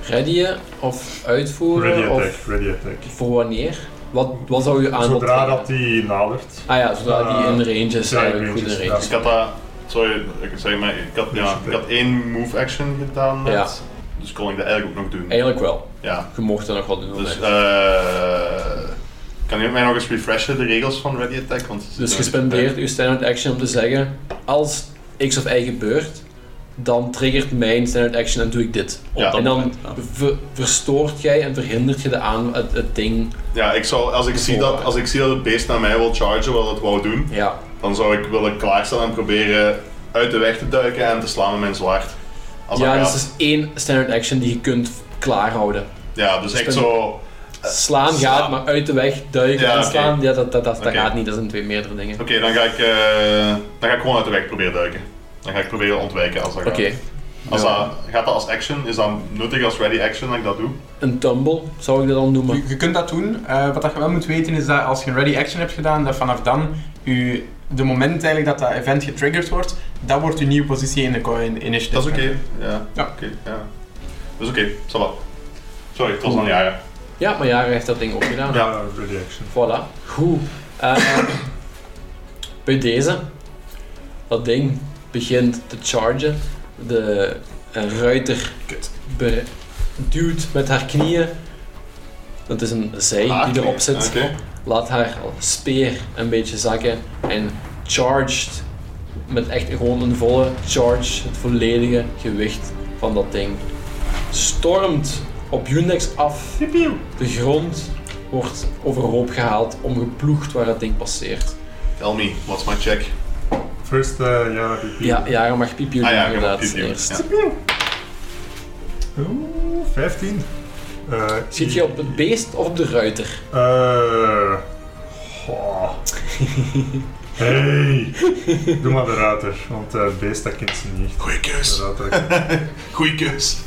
Speaker 1: Readyen of uitvoeren?
Speaker 3: Ready attack,
Speaker 1: of
Speaker 3: ready attack.
Speaker 1: voor wanneer? Wat, wat zou je aanbod
Speaker 3: Zodra
Speaker 1: zijn?
Speaker 3: dat die nadert.
Speaker 1: Ah ja, zodra die
Speaker 3: Eh,
Speaker 1: in range is,
Speaker 3: ja, in
Speaker 1: eigenlijk goed
Speaker 3: range
Speaker 1: in
Speaker 3: is,
Speaker 1: range.
Speaker 2: Dus Ik had dat, sorry, ik zeg maar, ik had, ja, ik had één move action gedaan net,
Speaker 1: Ja.
Speaker 2: dus kon ik dat eigenlijk ook nog doen.
Speaker 1: Eigenlijk wel.
Speaker 2: Ja,
Speaker 1: Je mocht er nog wat doen. op
Speaker 2: dus
Speaker 1: dat.
Speaker 2: eh kan je mij nog eens refreshen de regels van Ready Attack? Want
Speaker 1: Dus je spendeert uw standard action om te zeggen: als X of Y gebeurt, dan triggert mijn standard action en doe ik dit.
Speaker 5: Op
Speaker 2: Ja.
Speaker 5: dat
Speaker 1: en dan
Speaker 5: moment, ja.
Speaker 1: ver- verstoort jij en verhindert je de aan, het, het ding.
Speaker 2: Ja, ik zou, als, ik zie dat, als ik zie dat het beest naar mij wil chargen, wat het wou doen,
Speaker 1: Ja.
Speaker 2: dan zou ik willen klaarstaan en proberen uit de weg te duiken en te slaan met mijn zwaard. Als dat
Speaker 1: ja, dus
Speaker 2: gaat.
Speaker 1: dat is één standard action die je kunt klaarhouden.
Speaker 2: ja, dus echt zo.
Speaker 1: Slaan
Speaker 2: slaan.
Speaker 1: gaat, maar uit de weg duiken
Speaker 2: Ja,
Speaker 1: en
Speaker 2: oké.
Speaker 1: slaan, ja, dat, dat, dat, dat
Speaker 2: Oké.
Speaker 1: gaat niet. Dat zijn twee meerdere dingen.
Speaker 2: Oké, dan, ga ik, eh, dan ga ik gewoon uit de weg proberen duiken. Dan ga ik proberen ontwijken als dat
Speaker 1: Oké,
Speaker 2: gaat. Als
Speaker 1: Ja.
Speaker 2: dat, gaat dat als action? Is dat nuttig als ready action dat ik dat doe?
Speaker 1: een tumble zou ik dat dan noemen.
Speaker 4: Je, je kunt dat doen. Eh, wat dat je wel moet weten is dat als je een ready action hebt gedaan, dat vanaf dan u, de moment eigenlijk dat dat event getriggerd wordt, dat wordt uw nieuwe positie in de coin initiative.
Speaker 2: Dat is oké. Ja.
Speaker 4: Ja.
Speaker 2: oké, ja. Dus oké, ça va. Sorry, het was aan jaren.
Speaker 1: Ja, maar ja, hij heeft dat ding ook gedaan.
Speaker 2: Ja.
Speaker 3: Ja, ready action.
Speaker 1: Voilà. Goed. Eh, bij deze, dat ding begint te chargen. De eh, ruiter be- duwt met haar knieën. Dat is een zij die erop zit.
Speaker 2: Ah, Oké.
Speaker 1: Laat haar speer een beetje zakken. En charged met echt gewoon een volle charge. Het volledige gewicht van dat ding. Stormt op Unix af. De grond wordt overhoop gehaald, omgeploegd waar het ding passeert.
Speaker 2: Tell me, what's my check?
Speaker 3: First, eh, ja, repeat.
Speaker 1: Ja, ja je mag piepje doen
Speaker 2: Ah ja, je mag
Speaker 1: inderdaad
Speaker 2: piepje doen,
Speaker 1: eerst.
Speaker 2: ja.
Speaker 3: Oeh, 15. Eh,
Speaker 1: Zit je op het beest of op de ruiter?
Speaker 3: Eh. goh. Hey, doe maar de ruiter, want eh, het beest dat kent ze niet.
Speaker 2: Goeie
Speaker 3: De
Speaker 2: keus.
Speaker 3: ruiter dat kent-
Speaker 2: Goeie keus.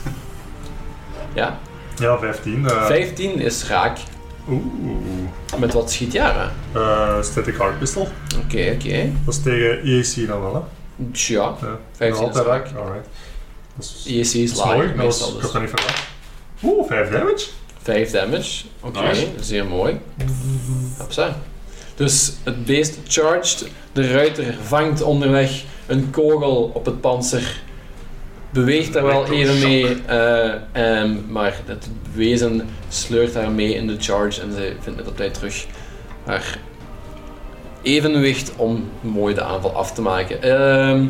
Speaker 1: Ja.
Speaker 3: Ja, 15. eh,
Speaker 1: 15 is raak.
Speaker 3: Oeh.
Speaker 1: Met wat schiet Jara?
Speaker 3: Eh, static hard pistol.
Speaker 1: Oké, oké.
Speaker 3: Dat is tegen EAC dan wel, hè?
Speaker 1: Tja,
Speaker 3: Ja,
Speaker 1: 15
Speaker 3: altijd
Speaker 1: is raak.
Speaker 3: Alright. Dat is,
Speaker 1: EC is
Speaker 3: dat is mooi,
Speaker 1: lager
Speaker 3: dat was,
Speaker 1: meestal dus.
Speaker 3: ik had dat niet verwacht. Oeh, 5 damage.
Speaker 1: 5 damage. Oké,
Speaker 2: Nice.
Speaker 1: zeer mooi. Hopsa. Dus het beest charged. De ruiter vangt onderweg een kogel op het panzer. Beweegt daar wel even mee, eh, ehm, maar het wezen sleurt haar mee in de charge en ze vindt met op tijd terug haar evenwicht om mooi de aanval af te maken. Ehm,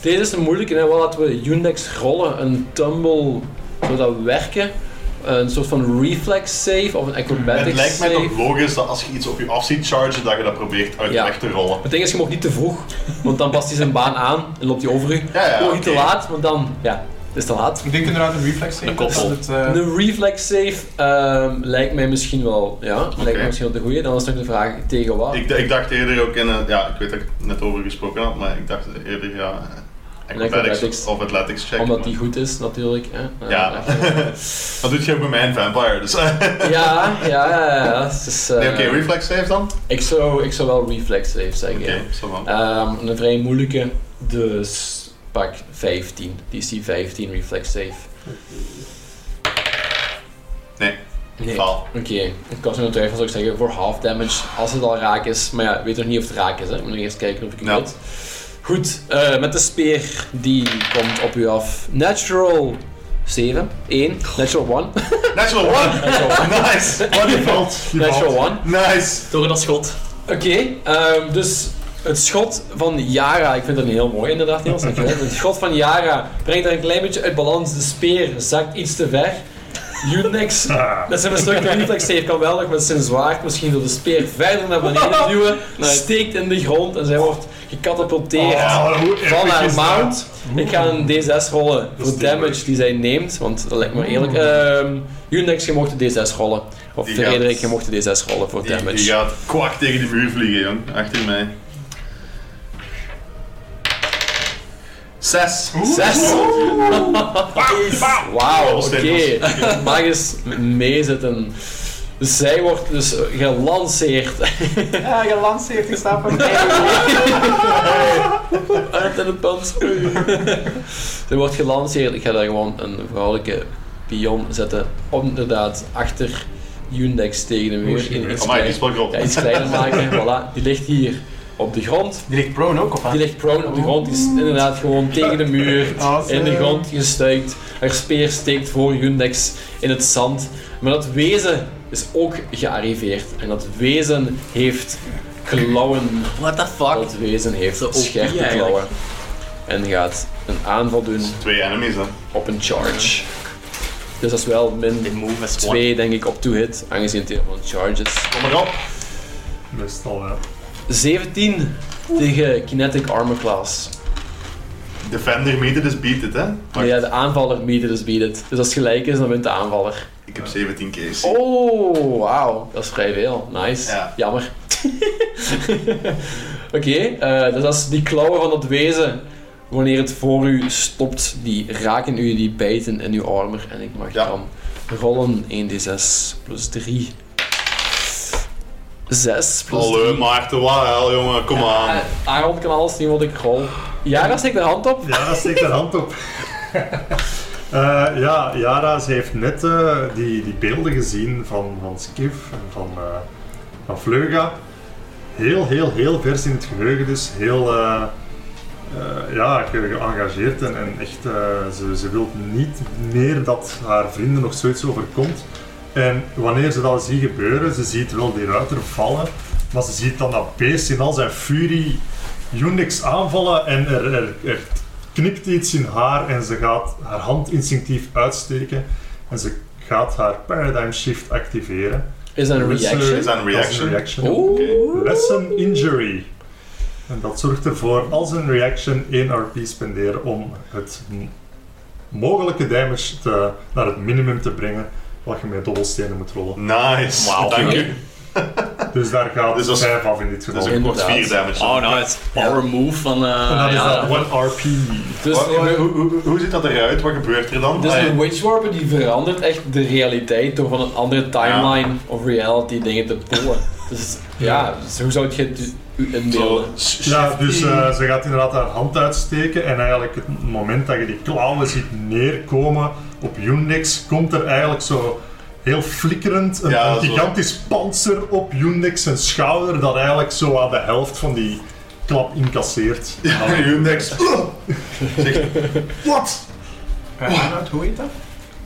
Speaker 1: deze is een moeilijke, hè? Wel laten we Undex rollen, een tumble, zou dat werken? Een soort van reflex save of een acrobatics
Speaker 2: Het lijkt mij
Speaker 1: save?
Speaker 2: toch logisch dat als je iets op je af ziet chargen, dat je dat probeert uit de
Speaker 1: Ja.
Speaker 2: weg te rollen.
Speaker 1: Het ding is, je mag niet te vroeg, want dan past hij zijn baan aan en loopt hij over u. Je
Speaker 2: Ja, ja,
Speaker 1: mag niet te
Speaker 2: oké.
Speaker 1: laat, want dan, ja, het is te laat.
Speaker 4: Ik denk inderdaad een reflex save.
Speaker 5: Een koppel.
Speaker 4: dat het, eh,
Speaker 1: Een reflex save ehm, lijkt mij misschien wel, ja, lijkt mij misschien wel de goede. Dan is nog de vraag tegen wat.
Speaker 2: Ik, d- ik dacht eerder ook in een, ja, ik weet dat ik het net over gesproken had, maar ik dacht eerder, ja, eh,
Speaker 1: Acrobatics.
Speaker 2: acrobatics of athletics check.
Speaker 1: Omdat
Speaker 2: maar-
Speaker 1: die goed is, natuurlijk. Hè. Eh,
Speaker 2: Ja, dat doet je ook bij mijn vampire, dus...
Speaker 1: ja, ja, ja. ja, het is, eh,
Speaker 2: Nee, oké, reflex save dan?
Speaker 1: ik, zou, ik zou wel reflex save zeggen.
Speaker 2: Oké,
Speaker 1: ja.
Speaker 2: zo van.
Speaker 1: Ehm, een vrij moeilijke, dus pak 15. DC 15 reflex save.
Speaker 2: Nee.
Speaker 1: Nee.
Speaker 2: Faal.
Speaker 1: Oké, ik kan zo twijfel zou ik zeggen voor half damage als het al raak is. Maar ja, ik weet nog niet of het raak is. Hè. Ik moet nog eerst kijken of ik het
Speaker 2: Ja.
Speaker 1: weet. Goed, eh, met de speer die komt op u af. Natural 7, 1, natural 1.
Speaker 2: Natural one! nice!
Speaker 3: Oh, die valt. Die
Speaker 1: natural
Speaker 3: valt.
Speaker 1: 1.
Speaker 2: Nice!
Speaker 5: Door dat schot.
Speaker 1: Oké, ehm, dus het schot van Yara, ik vind dat een heel mooi inderdaad, Niels. dankjewel. Het schot van Yara brengt haar een klein beetje uit balans. De speer zakt iets te ver. Unix
Speaker 3: Ah,
Speaker 1: met zijn mislukte reflex save kan wel nog met zijn zwaard misschien door de speer verder naar beneden duwen. Steekt in de grond en zij wordt gecatapulteerd
Speaker 2: Ah,
Speaker 3: Oh, hoe
Speaker 1: van
Speaker 3: epic
Speaker 1: haar
Speaker 3: is dat?
Speaker 1: mount. Ik ga een D6 rollen
Speaker 3: Dat
Speaker 1: voor
Speaker 3: is
Speaker 1: damage
Speaker 3: teamwork.
Speaker 1: die zij neemt, want dat lijkt me eerlijk. Ehm Unix, je mocht de D6 rollen. Of
Speaker 2: Mm. Die gaat-
Speaker 1: Frederik, je mocht de D6 rollen voor
Speaker 2: Die,
Speaker 1: damage.
Speaker 2: die gaat kwak tegen die muur vliegen, jong. Achter mij. Zes.
Speaker 1: Zes! Wauw, oké.
Speaker 2: Stevig.
Speaker 1: Mag eens meezitten. Dus zij wordt dus gelanceerd
Speaker 4: Ja, gelanceerd, ik sta voor
Speaker 1: uit in een pand. Ze wordt gelanceerd. Ik ga daar gewoon een vrouwelijke pion zetten. Om inderdaad achter Yundex tegen een muur. In iets,
Speaker 2: Amai, die
Speaker 1: klein,
Speaker 2: is wel groot.
Speaker 1: ja, iets kleiner maken. Voilà. Die ligt hier op de grond.
Speaker 4: Die ligt prone ook, of wat?
Speaker 1: Die ligt prone op de grond. Die is inderdaad gewoon tegen de muur.
Speaker 4: Awesome.
Speaker 1: In de grond gestuikt. Haar speer steekt voor Yundex in het zand. Maar dat wezen is ook gearriveerd. En dat wezen heeft klauwen.
Speaker 5: What the fuck?
Speaker 1: Dat wezen heeft
Speaker 5: Zo OP
Speaker 1: scherpe
Speaker 5: eigenlijk.
Speaker 1: klauwen. En gaat een aanval doen
Speaker 2: Twee enemies, hè.
Speaker 1: op een charge. Dus dat is wel
Speaker 5: Dit
Speaker 1: min
Speaker 5: move is
Speaker 1: 2, denk ik, op to hit, aangezien het helemaal een charge is.
Speaker 2: Kom maar op.
Speaker 3: Meestal, ja.
Speaker 1: 17 tegen Kinetic Armor Class.
Speaker 2: Defender meter, dus beat it, hè. Wacht,
Speaker 1: Nee, ja, de aanvaller meet it is beat it. Dus als het gelijk is, dan wint de aanvaller.
Speaker 2: ik heb 17 kees.
Speaker 1: Oh, wauw. Dat is vrij veel. Nice.
Speaker 2: Ja.
Speaker 1: Jammer. Oké, eh, dus als die klauwen van dat wezen, wanneer het voor u stopt, die raken u, die bijten in uw armor. En ik mag
Speaker 2: Ja.
Speaker 1: dan rollen 1d6 plus 3. 6 plus
Speaker 2: Hallo
Speaker 1: 3.
Speaker 2: Maarten, wat hel, jongen, kom aan.
Speaker 1: Aaron kan alles zien wat ik rol. Jara, steek de hand op.
Speaker 3: Jara steekt haar hand op. Eh, ja, Jara, ze heeft net eh, die, die beelden gezien van, van Skiff en van, eh van Vleuga. Heel, heel, heel vers in het geheugen dus. Heel eh, eh, ja, ge- geëngageerd en, en echt, eh, ze, ze wil niet meer dat haar vrienden nog zoiets overkomt. En wanneer ze dat ziet gebeuren, ze ziet wel die ruiter vallen, maar ze ziet dan dat beest in al zijn furie Unix aanvallen en er, er, er knikt iets in haar en ze gaat haar hand instinctief uitsteken en ze gaat haar paradigm shift activeren.
Speaker 1: Is dat een
Speaker 3: Dus, eh,
Speaker 1: reaction?
Speaker 2: Is dat een reaction?
Speaker 3: dat is een reaction.
Speaker 1: Oeh.
Speaker 3: Lesson injury. En dat zorgt ervoor als een reaction 1 RP spenderen om het m- mogelijke damage te, naar het minimum te brengen wat je met dobbelstenen moet rollen.
Speaker 2: Nice, dank
Speaker 1: Oké.
Speaker 2: u.
Speaker 3: Dus daar gaat
Speaker 2: Dus dat is-
Speaker 3: 5 af in dit
Speaker 2: Dat
Speaker 3: geval.
Speaker 2: is een kort
Speaker 1: Inderdaad.
Speaker 2: 4 damage. hè.
Speaker 5: Oh, nou, het is power move van... eh
Speaker 3: en dat
Speaker 1: Ah,
Speaker 5: ja,
Speaker 3: is dat 1 RP.
Speaker 1: Dus,
Speaker 2: Wat- hoe, hoe, hoe ziet dat eruit? Wat gebeurt er dan?
Speaker 1: Dus
Speaker 2: Allee,
Speaker 1: de Witch Warper die verandert echt de realiteit door van een andere timeline of reality dingen te pullen. Dus ja, dus hoe zou je het u u
Speaker 2: zo,
Speaker 1: inbeelden?
Speaker 3: Ja, dus eh, ze gaat inderdaad haar hand uitsteken en eigenlijk het moment dat je die klauwen ziet neerkomen op Unix, komt er eigenlijk zo heel flikkerend een,
Speaker 2: Ja,
Speaker 3: een
Speaker 2: zo.
Speaker 3: gigantisch panzer op Unix zijn schouder dat eigenlijk zo aan de helft van die klap incasseert.
Speaker 2: Ja, Unix. Zeg, Wat?
Speaker 4: Burnout, Eh, hoe heet dat?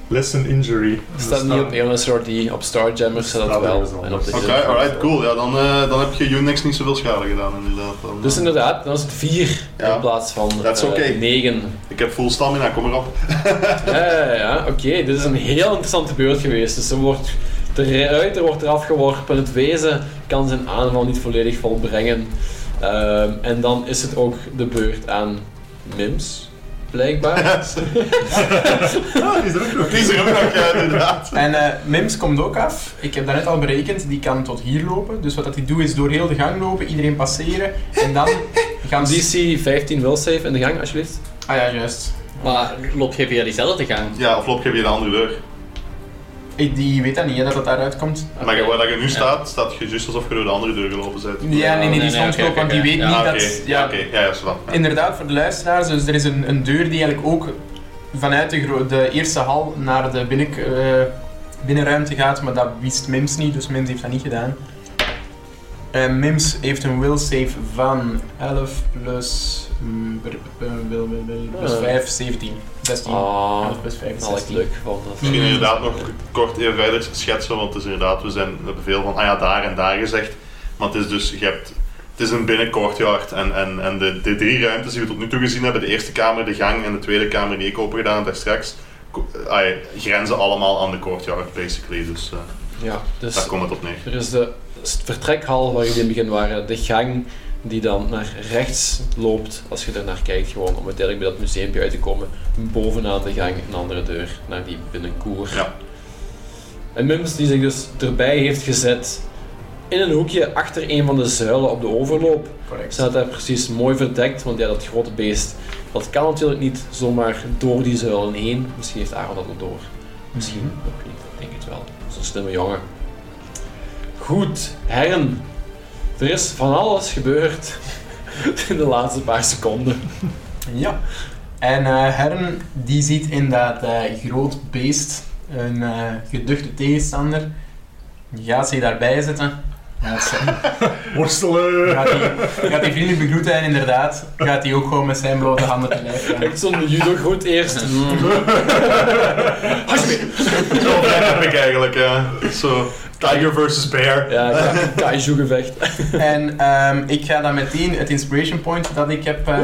Speaker 3: Lesson injury.
Speaker 1: Staat niet op Alien RD, op Starjammer staat dat
Speaker 3: Staat ergens
Speaker 1: wel.
Speaker 3: anders.
Speaker 1: En op de
Speaker 2: Oké,
Speaker 1: hele-
Speaker 2: alright, cool. Ja, dan, eh, dan heb je Unix niet zoveel schade gedaan, inderdaad. Dan, eh,
Speaker 1: Dus inderdaad, dan is het 4
Speaker 2: Ja.
Speaker 1: in plaats van
Speaker 2: That's
Speaker 1: eh,
Speaker 2: okay.
Speaker 1: 9.
Speaker 2: Ik heb full stamina, kom erop.
Speaker 1: Ja, ja, ja. oké. Dit is een heel interessante beurt geweest. Dus er wordt, de ruiter wordt eraf geworpen. Het wezen kan zijn aanval niet volledig volbrengen. Ehm, en dan is het ook de beurt aan Mims, blijkbaar.
Speaker 3: Ah, die is er ook nog.
Speaker 2: Die is er ook nog, ja, inderdaad.
Speaker 4: En eh, Mims komt ook af. Ik heb daarnet al berekend, die kan tot hier lopen. Dus wat dat hij doet is door heel de gang lopen, iedereen passeren. En dan gaan ze...
Speaker 1: DC 15 will save in de gang, alsjeblieft.
Speaker 4: Ah ja, juist.
Speaker 5: Maar loop je via diezelfde gang?
Speaker 2: Ja, of loop je weer de andere deur.
Speaker 4: Ik, die weet dat niet, hè, dat dat daaruit komt.
Speaker 2: Maar
Speaker 5: Oké.
Speaker 2: waar dat je nu staat, staat je juist alsof je door de andere deur gelopen bent.
Speaker 4: Ja, nee, nee,
Speaker 5: nee,
Speaker 4: die is
Speaker 5: nee,
Speaker 4: nee,
Speaker 5: oké, oké,
Speaker 4: want die
Speaker 5: oké.
Speaker 4: weet
Speaker 5: Ja,
Speaker 2: Ah,
Speaker 4: niet
Speaker 2: oké,
Speaker 4: dat...
Speaker 2: ja,
Speaker 4: Ja,
Speaker 2: oké. Ja, ja, is wel. Ja.
Speaker 4: Inderdaad, voor de luisteraars, dus er is een, een deur die eigenlijk ook vanuit de, gro- de eerste hal naar de binnen, eh, binnenruimte gaat, maar dat wist Mims niet, dus Mims heeft dat niet gedaan. Eh, Mims heeft een will save van 11 plus, mm, per- per- wil- wil- wil- plus
Speaker 1: Eh.
Speaker 4: 5, 17. 16.
Speaker 1: Ah,
Speaker 4: 11 plus 5,
Speaker 1: dat ik
Speaker 4: 16.
Speaker 1: leuk gevonden.
Speaker 2: Misschien inderdaad nog kort even verder schetsen, want het is inderdaad, we, zijn, we hebben veel van ah ja, daar en daar gezegd. Maar het is dus, je hebt, het is een binnencourtyard en, en, en de, de drie ruimtes die we tot nu toe gezien hebben, de eerste kamer, de gang en de tweede kamer die ik open gedaan heb daar straks, ko- ah ja, grenzen allemaal aan de courtyard basically. Dus eh,
Speaker 1: Ja, dus
Speaker 2: daar komt het op neer.
Speaker 1: er is de s- vertrekhal waar jullie in het begin waren, de gang die dan naar rechts loopt als je ernaar kijkt, gewoon om uiteindelijk bij dat museumpje uit te komen. Bovenaan de gang een andere deur naar die binnenkoer.
Speaker 2: Ja.
Speaker 1: En Mims die zich dus erbij heeft gezet in een hoekje achter een van de zuilen op de overloop.
Speaker 4: Correct.
Speaker 1: staat daar precies mooi verdekt, want ja, dat grote beest, dat kan natuurlijk niet zomaar door die zuilen heen. Misschien heeft Aaron dat al door. Misschien nog niet, ik denk het wel. Zo'n slimme jongen. Goed, herren. Er is van alles gebeurd in de laatste paar seconden.
Speaker 4: Ja. En eh Herren die ziet in dat eh, groot beest een eh, geduchte tegenstander. Die gaat zich daarbij zitten. Gaat ze-
Speaker 3: Worstelen!
Speaker 4: gaat die- gaat die vriendelijk begroeten en inderdaad gaat hij ook gewoon met zijn blote handen te lijf gaan.
Speaker 1: Echt zo'n judo-goed eerst.
Speaker 2: Zo ver heb ik eigenlijk, ja. Zo, tiger versus bear.
Speaker 1: Ja, ka- kaiju-gevecht.
Speaker 4: En ehm, ik ga dan meteen het inspiration point dat ik heb eh,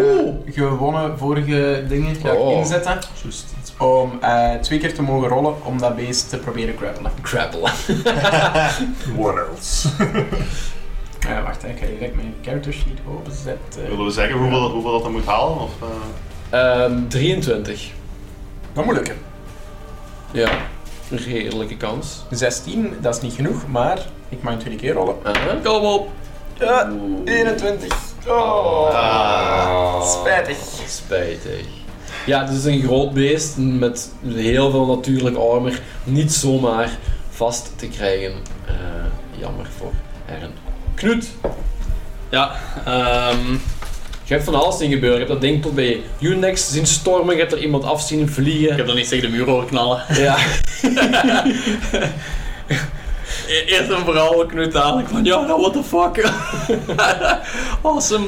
Speaker 4: gewonnen vorige dingen ga ik
Speaker 1: Oh.
Speaker 4: inzetten.
Speaker 3: Juist.
Speaker 4: Om eh, twee keer te mogen rollen om dat beest te proberen grappelen.
Speaker 1: Grapple.
Speaker 3: What else?
Speaker 4: Eh, wacht, hè, ik ga direct mijn character sheet openzetten.
Speaker 2: Willen we zeggen hoeveel, dat- hoeveel dat dan moet halen? Of, eh,
Speaker 1: Ehm 23.
Speaker 4: Dat moet lukken.
Speaker 1: Ja, een redelijke kans.
Speaker 4: 16, dat is niet genoeg, maar ik mag een tweede keer rollen.
Speaker 1: Aha, kom op.
Speaker 4: Ja, 21. Oh,
Speaker 2: ah.
Speaker 4: spijtig.
Speaker 1: Spijtig. Ja, het is een groot beest met heel veel natuurlijk armor. Niet zomaar vast te krijgen. Eh, jammer voor Herren. Knut,
Speaker 5: Ja, ehm,
Speaker 1: je hebt van alles zien gebeuren. Je hebt dat ding tot bij Unex zien stormen. Je hebt er iemand af zien
Speaker 5: ik
Speaker 1: vliegen.
Speaker 5: heb dan niet tegen de muur horen knallen.
Speaker 1: Ja,
Speaker 5: E- Eerst en vooral Knut dadelijk van, ja, nou, what the fuck. awesome.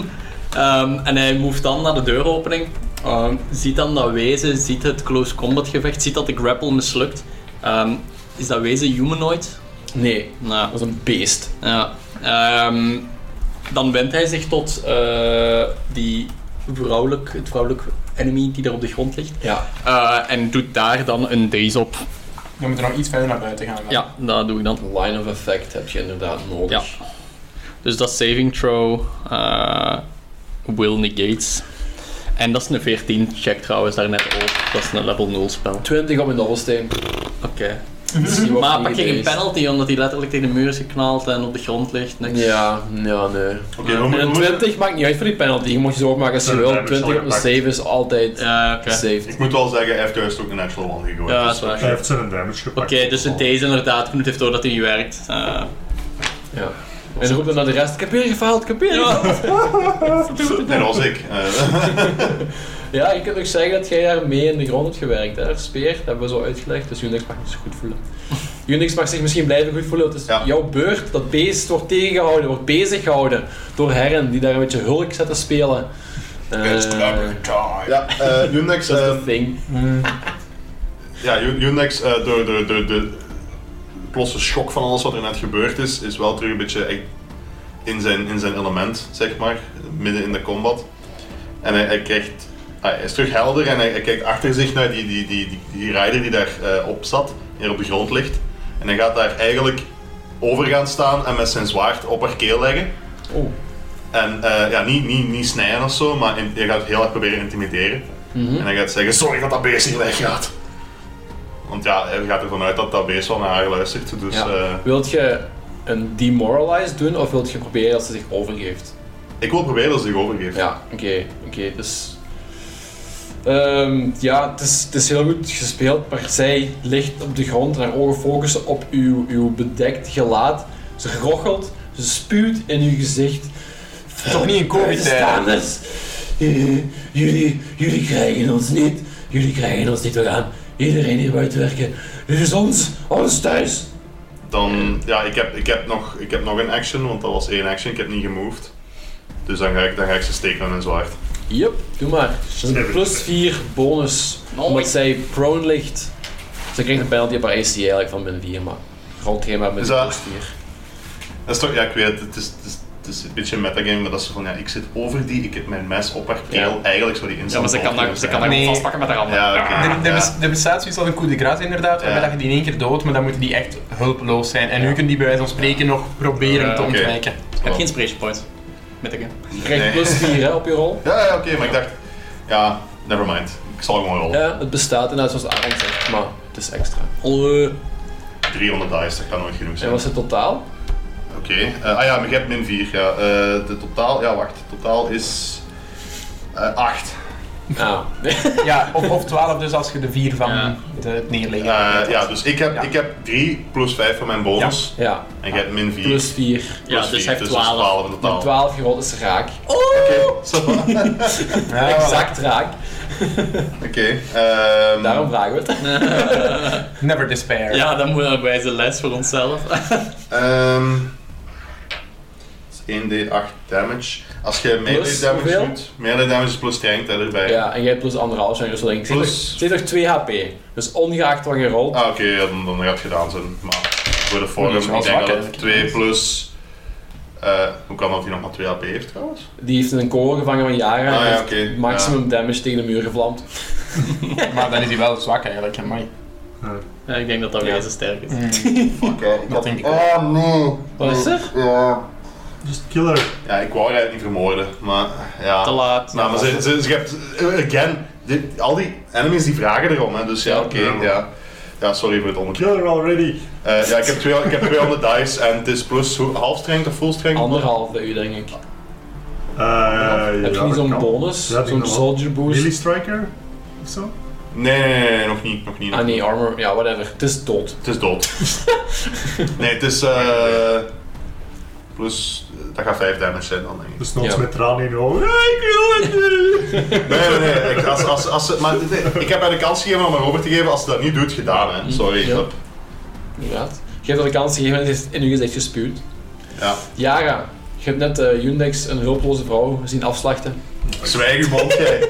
Speaker 5: Ehm, en hij moeft dan naar de deuropening. Ehm, ziet dan dat wezen, ziet het close combat gevecht, ziet dat de grapple mislukt. Ehm, is dat wezen humanoid?
Speaker 1: nee.
Speaker 5: Nou,
Speaker 1: Dat is een beest.
Speaker 5: Ja. Ehm, dan wendt hij zich tot eh, die vrouwelijk, het vrouwelijk enemy die daar op de grond ligt.
Speaker 1: Ja.
Speaker 5: Eh, en doet daar dan een daze op.
Speaker 4: Je moet er nog iets verder naar buiten gaan. dan.
Speaker 5: Ja, dat doe ik dan.
Speaker 1: Line of effect heb je inderdaad nodig.
Speaker 5: Dus dat saving throw eh, will negates. En dat is een 14 check trouwens daarnet ook. Dat is een level 0 spel.
Speaker 1: 20 op een dobbelsteen.
Speaker 5: Oké.
Speaker 1: Dat is niet wat
Speaker 5: Maar
Speaker 1: voor
Speaker 5: pak
Speaker 1: je
Speaker 5: je een
Speaker 1: beest.
Speaker 5: penalty omdat hij letterlijk tegen de muur is geknald en op de grond ligt. Niks.
Speaker 1: Ja, ja, nee.
Speaker 2: Oké, we
Speaker 1: En
Speaker 2: moeten...
Speaker 1: een
Speaker 2: we moeten-
Speaker 1: 20 maakt niet uit voor die penalty. Je mag je zo opmaken als je
Speaker 3: Ja,
Speaker 1: wil.
Speaker 3: damage
Speaker 1: 20
Speaker 3: al
Speaker 1: op een
Speaker 3: gepakt.
Speaker 1: save is altijd
Speaker 5: Ja, oké.
Speaker 1: saved.
Speaker 2: Ik moet wel zeggen, hij heeft juist ook een natural one gegooid.
Speaker 5: Ja,
Speaker 2: dus-
Speaker 5: dat is waar.
Speaker 3: Hij heeft zijn damage
Speaker 5: Oké,
Speaker 3: gepakt.
Speaker 5: dus het deze inderdaad, Knut heeft door dat hij niet werkt. Eh,
Speaker 1: Ja. En roept dan naar de rest: Ik heb weer gefaald, ik heb weer gefaald.
Speaker 2: Nee, dat was ik. Eh,
Speaker 1: Ja, je kunt ook zeggen dat jij daar mee in de grond hebt gewerkt. Hè? Speer, dat hebben we zo uitgelegd. Dus Unix mag zich goed voelen. Unix mag zich misschien blijven goed voelen. Het is
Speaker 2: Ja.
Speaker 1: jouw beurt. Dat beest wordt tegengehouden, wordt bezig gehouden door Herren die daar een beetje hulk zet te spelen. Eh,
Speaker 4: It's clever time.
Speaker 2: ja, eh Unix...
Speaker 1: dat is
Speaker 2: eh,
Speaker 1: de thing.
Speaker 4: Mm.
Speaker 2: ja, U- Unix, eh, door, door, door de plosse schok van alles wat er net gebeurd is, is wel terug een beetje echt in zijn, in zijn element, zeg maar. Midden in de combat. En hij, hij krijgt... ah, Hij is terug helder en hij, hij kijkt achter zich naar die, die, die, die, die rider die daar eh, op zat, die er op de grond ligt. En hij gaat daar eigenlijk over gaan staan en met zijn zwaard op haar keel leggen.
Speaker 1: Oh.
Speaker 2: En eh, ja, niet, niet, niet snijden of zo, maar in- je gaat het heel erg proberen intimideren.
Speaker 1: Mhm.
Speaker 2: En hij gaat zeggen, sorry dat dat beest niet weggaat. Want ja, hij gaat ervan uit dat dat beest wel naar haar luistert. Dus
Speaker 1: Ja.
Speaker 2: eh,
Speaker 1: Wilt je een demoralize doen of wilt je proberen dat ze zich overgeeft?
Speaker 2: ik wil proberen dat ze zich overgeeft.
Speaker 1: Ja, oké, oké, dus... Ehm, ja, het is, het is heel goed gespeeld, maar zij ligt op de grond en haar ogen focussen op uw, uw bedekt gelaat. Ze rochelt, ze spuwt in uw gezicht.
Speaker 4: Toch niet in covid
Speaker 1: Buitenstaanders, eh, jullie, jullie krijgen ons niet. Jullie krijgen ons niet, we gaan iedereen hier buiten werken. Dit is ons, ons thuis.
Speaker 2: Dan, ja, ik heb, ik, heb nog, ik heb nog een action, want dat was één action. Ik heb niet gemoved. Dus dan ga ik, dan ga ik ze steken met mijn zwaard.
Speaker 1: Yep, doe maar. Dat is een plus 4 bonus.
Speaker 5: Mooi.
Speaker 1: Omdat zij prone ligt. Ze krijgt een penalty op haar AC eigenlijk van min 4, maar rolt geen maar met
Speaker 2: Is
Speaker 1: een
Speaker 2: dat-
Speaker 1: plus 4.
Speaker 2: Dat is toch, ja, ik weet het, het is, het is, het is een beetje een metagame, maar dat is zo van, ja, ik zit over die, ik heb mijn mes op haar keel.
Speaker 1: Ja.
Speaker 2: Eigenlijk zou die instant
Speaker 5: Ja, maar ze kan
Speaker 2: dood
Speaker 5: daar, ze
Speaker 2: kunnen
Speaker 5: kan daar
Speaker 4: Nee.
Speaker 5: gewoon vastpakken met haar handen.
Speaker 2: Ja, oké.
Speaker 4: Er, er
Speaker 2: Ja.
Speaker 4: bes- er bestaat zoiets als een coup de grace inderdaad,
Speaker 2: Ja.
Speaker 4: waarbij dat je die in één keer dood, maar dan moeten die echt hulpeloos zijn. En nu kunnen die bij wijze van spreken nog proberen
Speaker 5: Ja,
Speaker 4: te
Speaker 5: oké.
Speaker 4: ontwijken.
Speaker 5: Ik heb
Speaker 2: Oh.
Speaker 5: geen inspiration point. Met de game.
Speaker 1: Je krijgt
Speaker 2: Nee.
Speaker 1: plus 4 hè, op je rol.
Speaker 2: zijn. Ja, ja, oké, maar ik dacht, ja, never mind. Ik zal gewoon rollen.
Speaker 1: Ja, het bestaat inderdaad zoals Aaron zegt, maar het is extra.
Speaker 5: Alle
Speaker 2: 300 dice, dat kan nooit genoeg
Speaker 1: En
Speaker 2: zijn.
Speaker 1: wat is het totaal?
Speaker 2: Oké, eh, ah ja, maar je hebt min 4, ja. Eh, de totaal, ja wacht, totaal is 8.
Speaker 1: Ah.
Speaker 4: Ja, of, of 12 dus als je de 4 van
Speaker 5: Ja.
Speaker 4: de neerleggen.
Speaker 2: Eh, ja, dus ik heb,
Speaker 4: Ja.
Speaker 2: ik heb 3 plus 5 van mijn bonus.
Speaker 1: ja.
Speaker 2: En jij hebt min 4.
Speaker 1: Plus 4.
Speaker 5: Ja, dus hij heeft 12.
Speaker 2: in
Speaker 1: Met
Speaker 2: totaal.
Speaker 1: 12 gerold is raak.
Speaker 2: Oh. Oké, ça va.
Speaker 4: Ja,
Speaker 1: Exact raak.
Speaker 2: Oké, ehm,
Speaker 1: Daarom vragen we het.
Speaker 4: Never despair.
Speaker 5: Ja, dan moeten we een wijze les voor onszelf.
Speaker 2: ehm, dus dat is 1d8 damage. Als je melee
Speaker 1: Plus
Speaker 2: damage
Speaker 1: hoeveel?
Speaker 2: doet, melee damage is plus strength hè, erbij.
Speaker 1: Ja, en jij plus anderhalf zijn, dus dan denk ik,
Speaker 2: Plus-
Speaker 1: zit er- zit er 2 HP. Dus ongeacht wat je rolt.
Speaker 2: Ah, oké, ja, dan, dan gaat het gedaan zijn. Maar voor de
Speaker 4: Dat
Speaker 2: forum,
Speaker 4: is
Speaker 2: ik
Speaker 4: wel
Speaker 2: denk
Speaker 4: zwak,
Speaker 2: dat
Speaker 4: hè.
Speaker 2: het 2 plus. eh, hoe kan dat hij nog maar 2 HP heeft trouwens?
Speaker 1: Die heeft een kool gevangen van Jara.
Speaker 2: Ah,
Speaker 1: en
Speaker 2: ja,
Speaker 1: heeft
Speaker 2: oké,
Speaker 1: Maximum damage tegen de muur gevlamd.
Speaker 4: Maar dan is hij wel zwak eigenlijk, amai.
Speaker 5: Ja, ik denk dat dat
Speaker 1: Ja.
Speaker 5: wijze sterk is.
Speaker 2: Fuck, ja, ik
Speaker 4: Dat
Speaker 2: had-
Speaker 4: denk ik
Speaker 2: Oh nee!
Speaker 1: Wat is er?
Speaker 2: Ja.
Speaker 3: Just kill her.
Speaker 2: ja, ik wou haar eigenlijk niet vermoorden, maar ja.
Speaker 5: Te laat.
Speaker 2: Nou, maar ze, ze, ze hebt, again, dit- al die enemies die vragen erom, hè, dus ja, oké,
Speaker 3: Ja.
Speaker 2: ja. Ja, sorry voor het onderkill.
Speaker 3: Kill her already.
Speaker 2: ja, ik heb, twee, ik heb 200 dice en het is plus hoe- half strength of full strength?
Speaker 1: Anderhalf bij u, denk ik.
Speaker 3: Eh
Speaker 1: Heb je niet zo'n
Speaker 3: bol?
Speaker 1: bonus?
Speaker 3: Ja, die
Speaker 1: zo'n
Speaker 3: nog wel.
Speaker 1: soldier boost?
Speaker 3: Melee striker? Of zo?
Speaker 2: Nee, nee, nee, nee, nog niet, nog niet.
Speaker 1: Ah nee, armor. Ja, whatever. Het is dood.
Speaker 2: Het is dood. nee, het is eh plus, dat gaat 5 damage zijn dan denk ik.
Speaker 3: Dus nog eens
Speaker 1: Ja.
Speaker 3: met tranen in de ogen. "Ah, ik wil het niet."
Speaker 2: Nee, nee, nee, ik- als, als, als, ze- maar dit- ik heb haar de kans gegeven om aan Robert te geven, als ze dat niet doet, gedaan hè, sorry.
Speaker 1: Ja.
Speaker 2: Hup.
Speaker 1: Inderdaad. Je hebt er de kans gegeven en het is in uw gezicht gespuwd.
Speaker 2: Ja.
Speaker 1: Jara, je hebt net eh Yundex, een hulploze vrouw, zien afslachten.
Speaker 2: Zwijg uw mond, jij.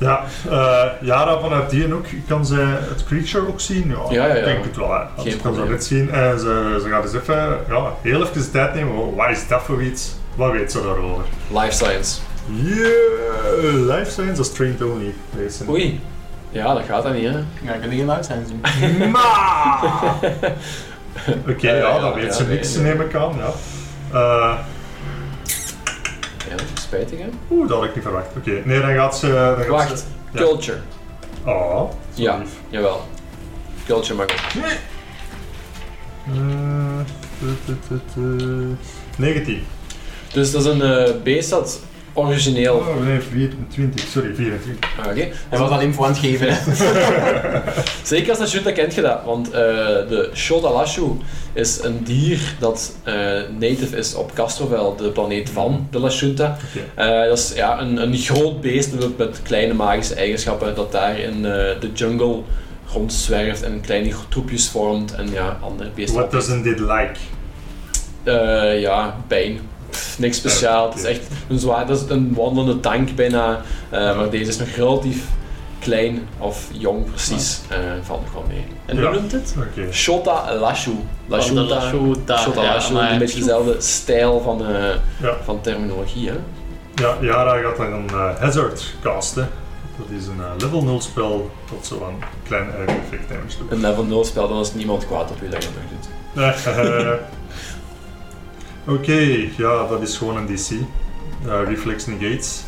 Speaker 3: Ja, eh Yara vanuit die ook. Kan zij het creature ook zien? Ja,
Speaker 1: Ja, ja, ja.
Speaker 3: ik denk het wel. Hè. Anders
Speaker 1: Geen
Speaker 3: kan ze dat
Speaker 1: probleem.
Speaker 3: net zien. En ze, ze gaat eens even, ja, heel even de tijd nemen. Oh, Wat is dat voor iets? Wat weet ze daarover?
Speaker 1: Life science.
Speaker 3: Yeah, life science is trained only. Deze.
Speaker 1: Oei. Ja, dat gaat dan niet, hè.
Speaker 4: Ja, ik kan geen luid zijn. zien.
Speaker 3: Ma! Oké,
Speaker 1: Ja,
Speaker 3: ja,
Speaker 1: ja, ja,
Speaker 3: dat weet ze
Speaker 1: ja,
Speaker 3: niks,
Speaker 1: nee, nee.
Speaker 3: neem ik aan. Ja. Eh,
Speaker 1: Ja, dat is spijtig, hè.
Speaker 3: Oeh, dat had ik niet verwacht. Oké, nee, dan gaat ze. Dan gaat
Speaker 1: Wacht.
Speaker 3: Ze... Ja.
Speaker 1: Culture.
Speaker 3: Oh,
Speaker 1: Ja, jawel. Culture, maar goed.
Speaker 3: Nee. Eh, tu, tu, tu, tu. 19.
Speaker 1: Dus dat is een eh, beest dat origineel...
Speaker 3: Oh, nee, 24. Sorry, 24.
Speaker 1: Ah, Oké.
Speaker 4: Hij was al info aan het geven. hè.
Speaker 1: Zeker als dat shoot, dan kent je dat. Want eh, de Shodalashu is een dier dat eh, native is op Castrovel, de planeet van de La Junta.
Speaker 3: Oké.
Speaker 1: Eh, dat is ja, een, een groot beest met, met kleine magische eigenschappen dat daar in eh, de jungle rondzwerft en kleine troepjes vormt en ja, andere beesten.
Speaker 3: What doesn't it like?
Speaker 1: Eh, ja, pijn. Pff, niks speciaal. Het is echt een zwaar, dat is een wandelende tank bijna. Eh, maar deze is nog relatief klein of jong precies. Eh valt nog wel mee. En
Speaker 3: Ja.
Speaker 1: hoe noemt het?
Speaker 3: Oké.
Speaker 1: Shota Lashu.
Speaker 5: Van de
Speaker 1: Lashuta.
Speaker 5: Lashuta,
Speaker 1: Shota
Speaker 5: ja,
Speaker 1: Lashu.
Speaker 5: maar-
Speaker 1: Een beetje dezelfde stijl van, eh,
Speaker 3: Ja.
Speaker 1: van terminologie. Hè?
Speaker 3: Ja, Yara gaat dan een eh, hazard casten. Dat is een eh, level 0 spel dat zo aan klein eigen effect damage doet.
Speaker 1: Een level 0 spel, dan is niemand kwaad op je dat je dat nog doet.
Speaker 3: Eh, Oké, ja, dat is gewoon een DC. Eh, reflex negates.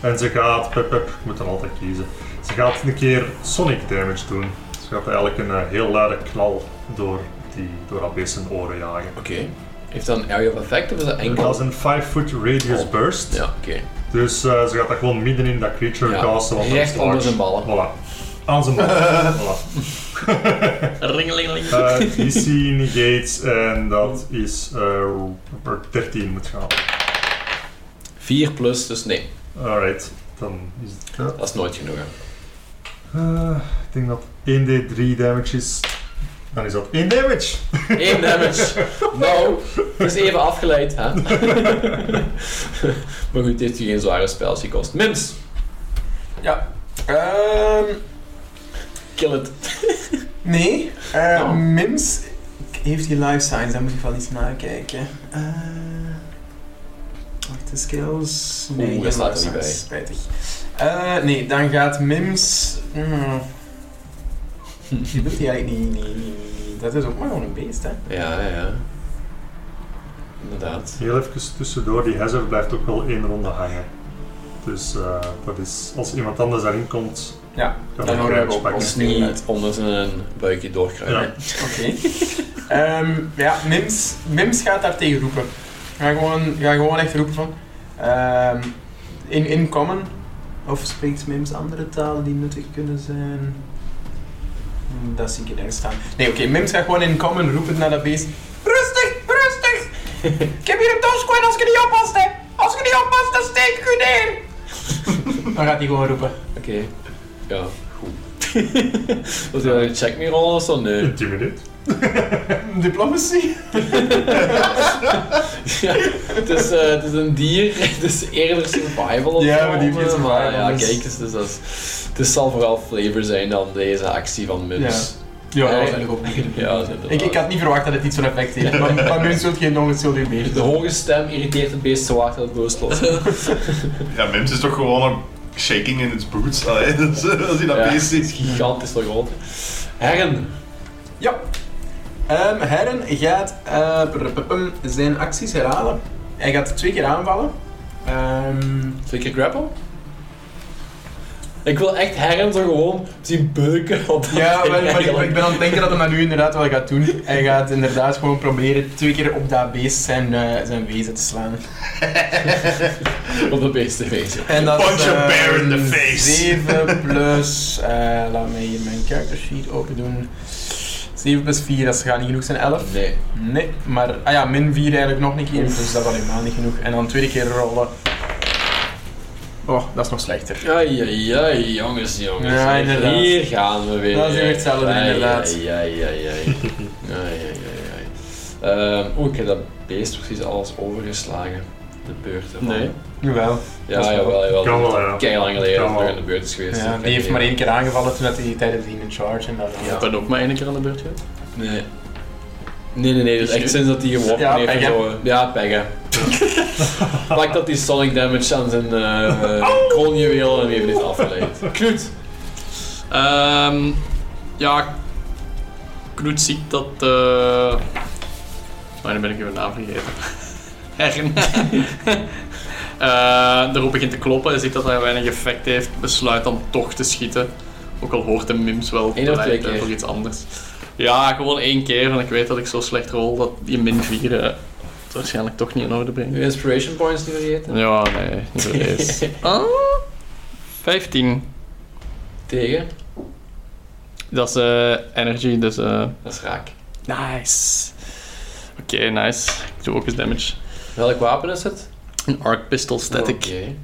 Speaker 3: En ze gaat, pep pep, ik moet dan altijd kiezen. Ze gaat een keer sonic damage doen. Ze gaat eigenlijk een eh, heel luide knal door, die, door dat beest zijn oren jagen.
Speaker 1: Oké. Heeft dat een area of effect of is dat enkel?
Speaker 3: Dat is een 5 foot radius
Speaker 1: Oh.
Speaker 3: burst.
Speaker 1: Ja, oké.
Speaker 3: Dus eh, ze gaat dat gewoon midden in dat creature
Speaker 1: Ja,
Speaker 3: casten. Want dat
Speaker 1: recht
Speaker 3: is
Speaker 1: onder
Speaker 3: large.
Speaker 1: zijn ballen.
Speaker 3: Voilà. Aan zijn ballen. voilà.
Speaker 5: Ringelingeling.
Speaker 3: Eh, DC negates en dat is eh, per 13 moet gaan.
Speaker 1: 4 plus, dus nee.
Speaker 3: Alright, dan is het dat.
Speaker 1: Dat is nooit genoeg. hè.
Speaker 3: Eh, ik denk dat 1d3 damage is. Dan is dat 1 damage.
Speaker 1: 1 damage. Nou, dus even afgeleid, hè. maar goed, dit heeft u geen zware spels gekost. Mims,
Speaker 4: Ja. Ehm,
Speaker 1: kill it.
Speaker 4: nee. Eh,
Speaker 1: Oh.
Speaker 4: Mims heeft die life science, daar moet ik wel iets naar kijken. Eh, wacht, de skills. Nee,
Speaker 1: Oeh,
Speaker 4: geen
Speaker 1: daar staat er
Speaker 4: life
Speaker 1: niet bij.
Speaker 4: science, Spijtig. Eh, nee, dan gaat Mims. Mm, die wil die eigenlijk niet, niet, niet, niet- niet. Dat is ook maar gewoon een beest, hè?
Speaker 1: Ja, ja, ja. Inderdaad.
Speaker 3: Heel even tussendoor, die hazard blijft ook wel één ronde hangen. Dus eh, dat is, als iemand anders daarin komt,
Speaker 4: Ja,
Speaker 3: kan
Speaker 4: dan
Speaker 3: hij
Speaker 4: horen we
Speaker 3: damage
Speaker 4: ook
Speaker 3: pakken.
Speaker 1: Ons niet onder zijn buikje doorkruipen.
Speaker 3: Ja.
Speaker 4: Oké. Ehm, ja, Mims, Mims gaat daar tegen roepen. Ga gewoon, ga gewoon echt roepen van. ehm, in, in common Of spreekt Mims andere talen die nuttig kunnen zijn? Hm, Dat zie ik hier ergens staan. Nee, oké, Mims gaat gewoon in common roepen naar dat beest. Rustig, rustig! ik heb hier een doodsquid als je niet oppast, hè! Als je niet oppast, dan steek ik u neer! Dan gaat hij gewoon roepen.
Speaker 1: Oké. Ja, goed. Wat wil je? Check me roll of zo? Nee.
Speaker 3: Intimidate.
Speaker 4: Diplomacy?
Speaker 1: ja, het, is, eh, het is een dier, het is eerder survival of
Speaker 4: Ja,
Speaker 1: zo,
Speaker 4: maar die heeft geen
Speaker 1: eh, maar
Speaker 4: survival,
Speaker 1: Ja,
Speaker 4: dus-
Speaker 1: kijk, dus, dus dat is, het zal vooral flavor zijn dan deze actie van Mims.
Speaker 4: Ja, dat was
Speaker 1: Nee.
Speaker 4: eigenlijk ook niet
Speaker 1: Ja,
Speaker 4: gediplomacy.
Speaker 1: inderdaad.
Speaker 4: ik, ik had niet verwacht dat het iets zo'n effect heeft, maar, maar Mims wil geen nog een schuldig beest.
Speaker 1: De hoge stem irriteert het beest zo hard dat het boos loopt.
Speaker 2: Ja, Mims is toch gewoon een shaking in its boots. Allee, dus, eh, als hij dat
Speaker 1: Ja.
Speaker 2: beest
Speaker 1: Het is
Speaker 2: ziet.
Speaker 1: gigantisch toch groot. Herren,
Speaker 4: Ja. Ehm Herren gaat eh, brr, brr, brr, zijn acties herhalen. Hij gaat twee keer aanvallen. Ehm,
Speaker 1: twee keer grapple. Ik wil echt Herren zo gewoon zien beuken op dat ding
Speaker 4: ja, wel, maar ik,
Speaker 1: eigenlijk.
Speaker 4: ik ben aan het denken dat hij dat nu inderdaad wel gaat doen. Hij gaat inderdaad gewoon proberen twee keer op dat beest zijn, eh, zijn wezen te slaan.
Speaker 1: Op dat beest te wezen.
Speaker 4: En dat
Speaker 2: Punch a bear in the
Speaker 4: ehm,
Speaker 2: face.
Speaker 4: 7 plus, eh, laat mij hier mijn character sheet open doen. 7 plus 4, dat gaat niet genoeg zijn, 11.
Speaker 1: Nee.
Speaker 4: Nee, maar ah ja, min 4 eigenlijk nog een keer, dus dat was helemaal niet genoeg. En dan tweede keer rollen. Oh, dat is nog slechter.
Speaker 1: Ai, ai, ai, jongens, jongens.
Speaker 4: Ja, inderdaad.
Speaker 1: Hier gaan we weer.
Speaker 4: Dat is weer hetzelfde,
Speaker 1: Ai,
Speaker 4: inderdaad.
Speaker 1: Ai, ai, ai, ai. ai, ai, ai, ai. Ehm, Oeh, ik heb dat beest precies alles overgeslagen. De beurt ervan.
Speaker 5: Nee.
Speaker 4: Jawel. dat
Speaker 1: Ja,
Speaker 4: is
Speaker 1: jawel, jawel.
Speaker 3: Kan wel, ja.
Speaker 1: Kei lang geleden
Speaker 3: Kan
Speaker 1: dat het nog
Speaker 3: wel.
Speaker 1: in de beurt is geweest.
Speaker 4: Ja,
Speaker 1: Ik
Speaker 4: die heeft
Speaker 1: weet
Speaker 4: maar
Speaker 1: niet.
Speaker 4: één keer aangevallen toen dat hij tijdens die in charge en dat
Speaker 1: Ja.
Speaker 5: Ik ben ook maar één keer aan de beurt geweest.
Speaker 1: Nee. Nee, nee, nee, dus echt sinds dat hij geworpen
Speaker 4: Ja,
Speaker 1: heeft en
Speaker 4: pech, hè.
Speaker 1: zo. eh, Ja, peggen. Pak dat die sonic damage aan zijn eh kroonjuweel en die heeft dit afgeleid.
Speaker 5: Knut. Ehm, ja, Knut ziet dat... eh Maar nu ben ik even naam vergeten. Herren. Eh, daarop begint te kloppen en ziet dat hij weinig effect heeft. Besluit dan toch te schieten. Ook al hoort de mims wel
Speaker 1: Eén of
Speaker 5: te
Speaker 1: twee
Speaker 5: lijken
Speaker 1: keer?
Speaker 5: voor iets anders. Ja, gewoon één keer. En ik weet dat ik zo slecht rol dat die min 4 eh, het waarschijnlijk toch niet in orde brengt.
Speaker 1: Nu inspiration points niet vergeten.
Speaker 5: Ja, nee, niet voor deze. Ah, 15.
Speaker 1: Tegen.
Speaker 5: Dat is eh, energy, dus... eh,
Speaker 1: Dat is raak.
Speaker 5: nice. Oké, nice. Ik doe ook eens damage.
Speaker 1: Welk wapen is het?
Speaker 5: Een arc pistol static.
Speaker 1: Oké,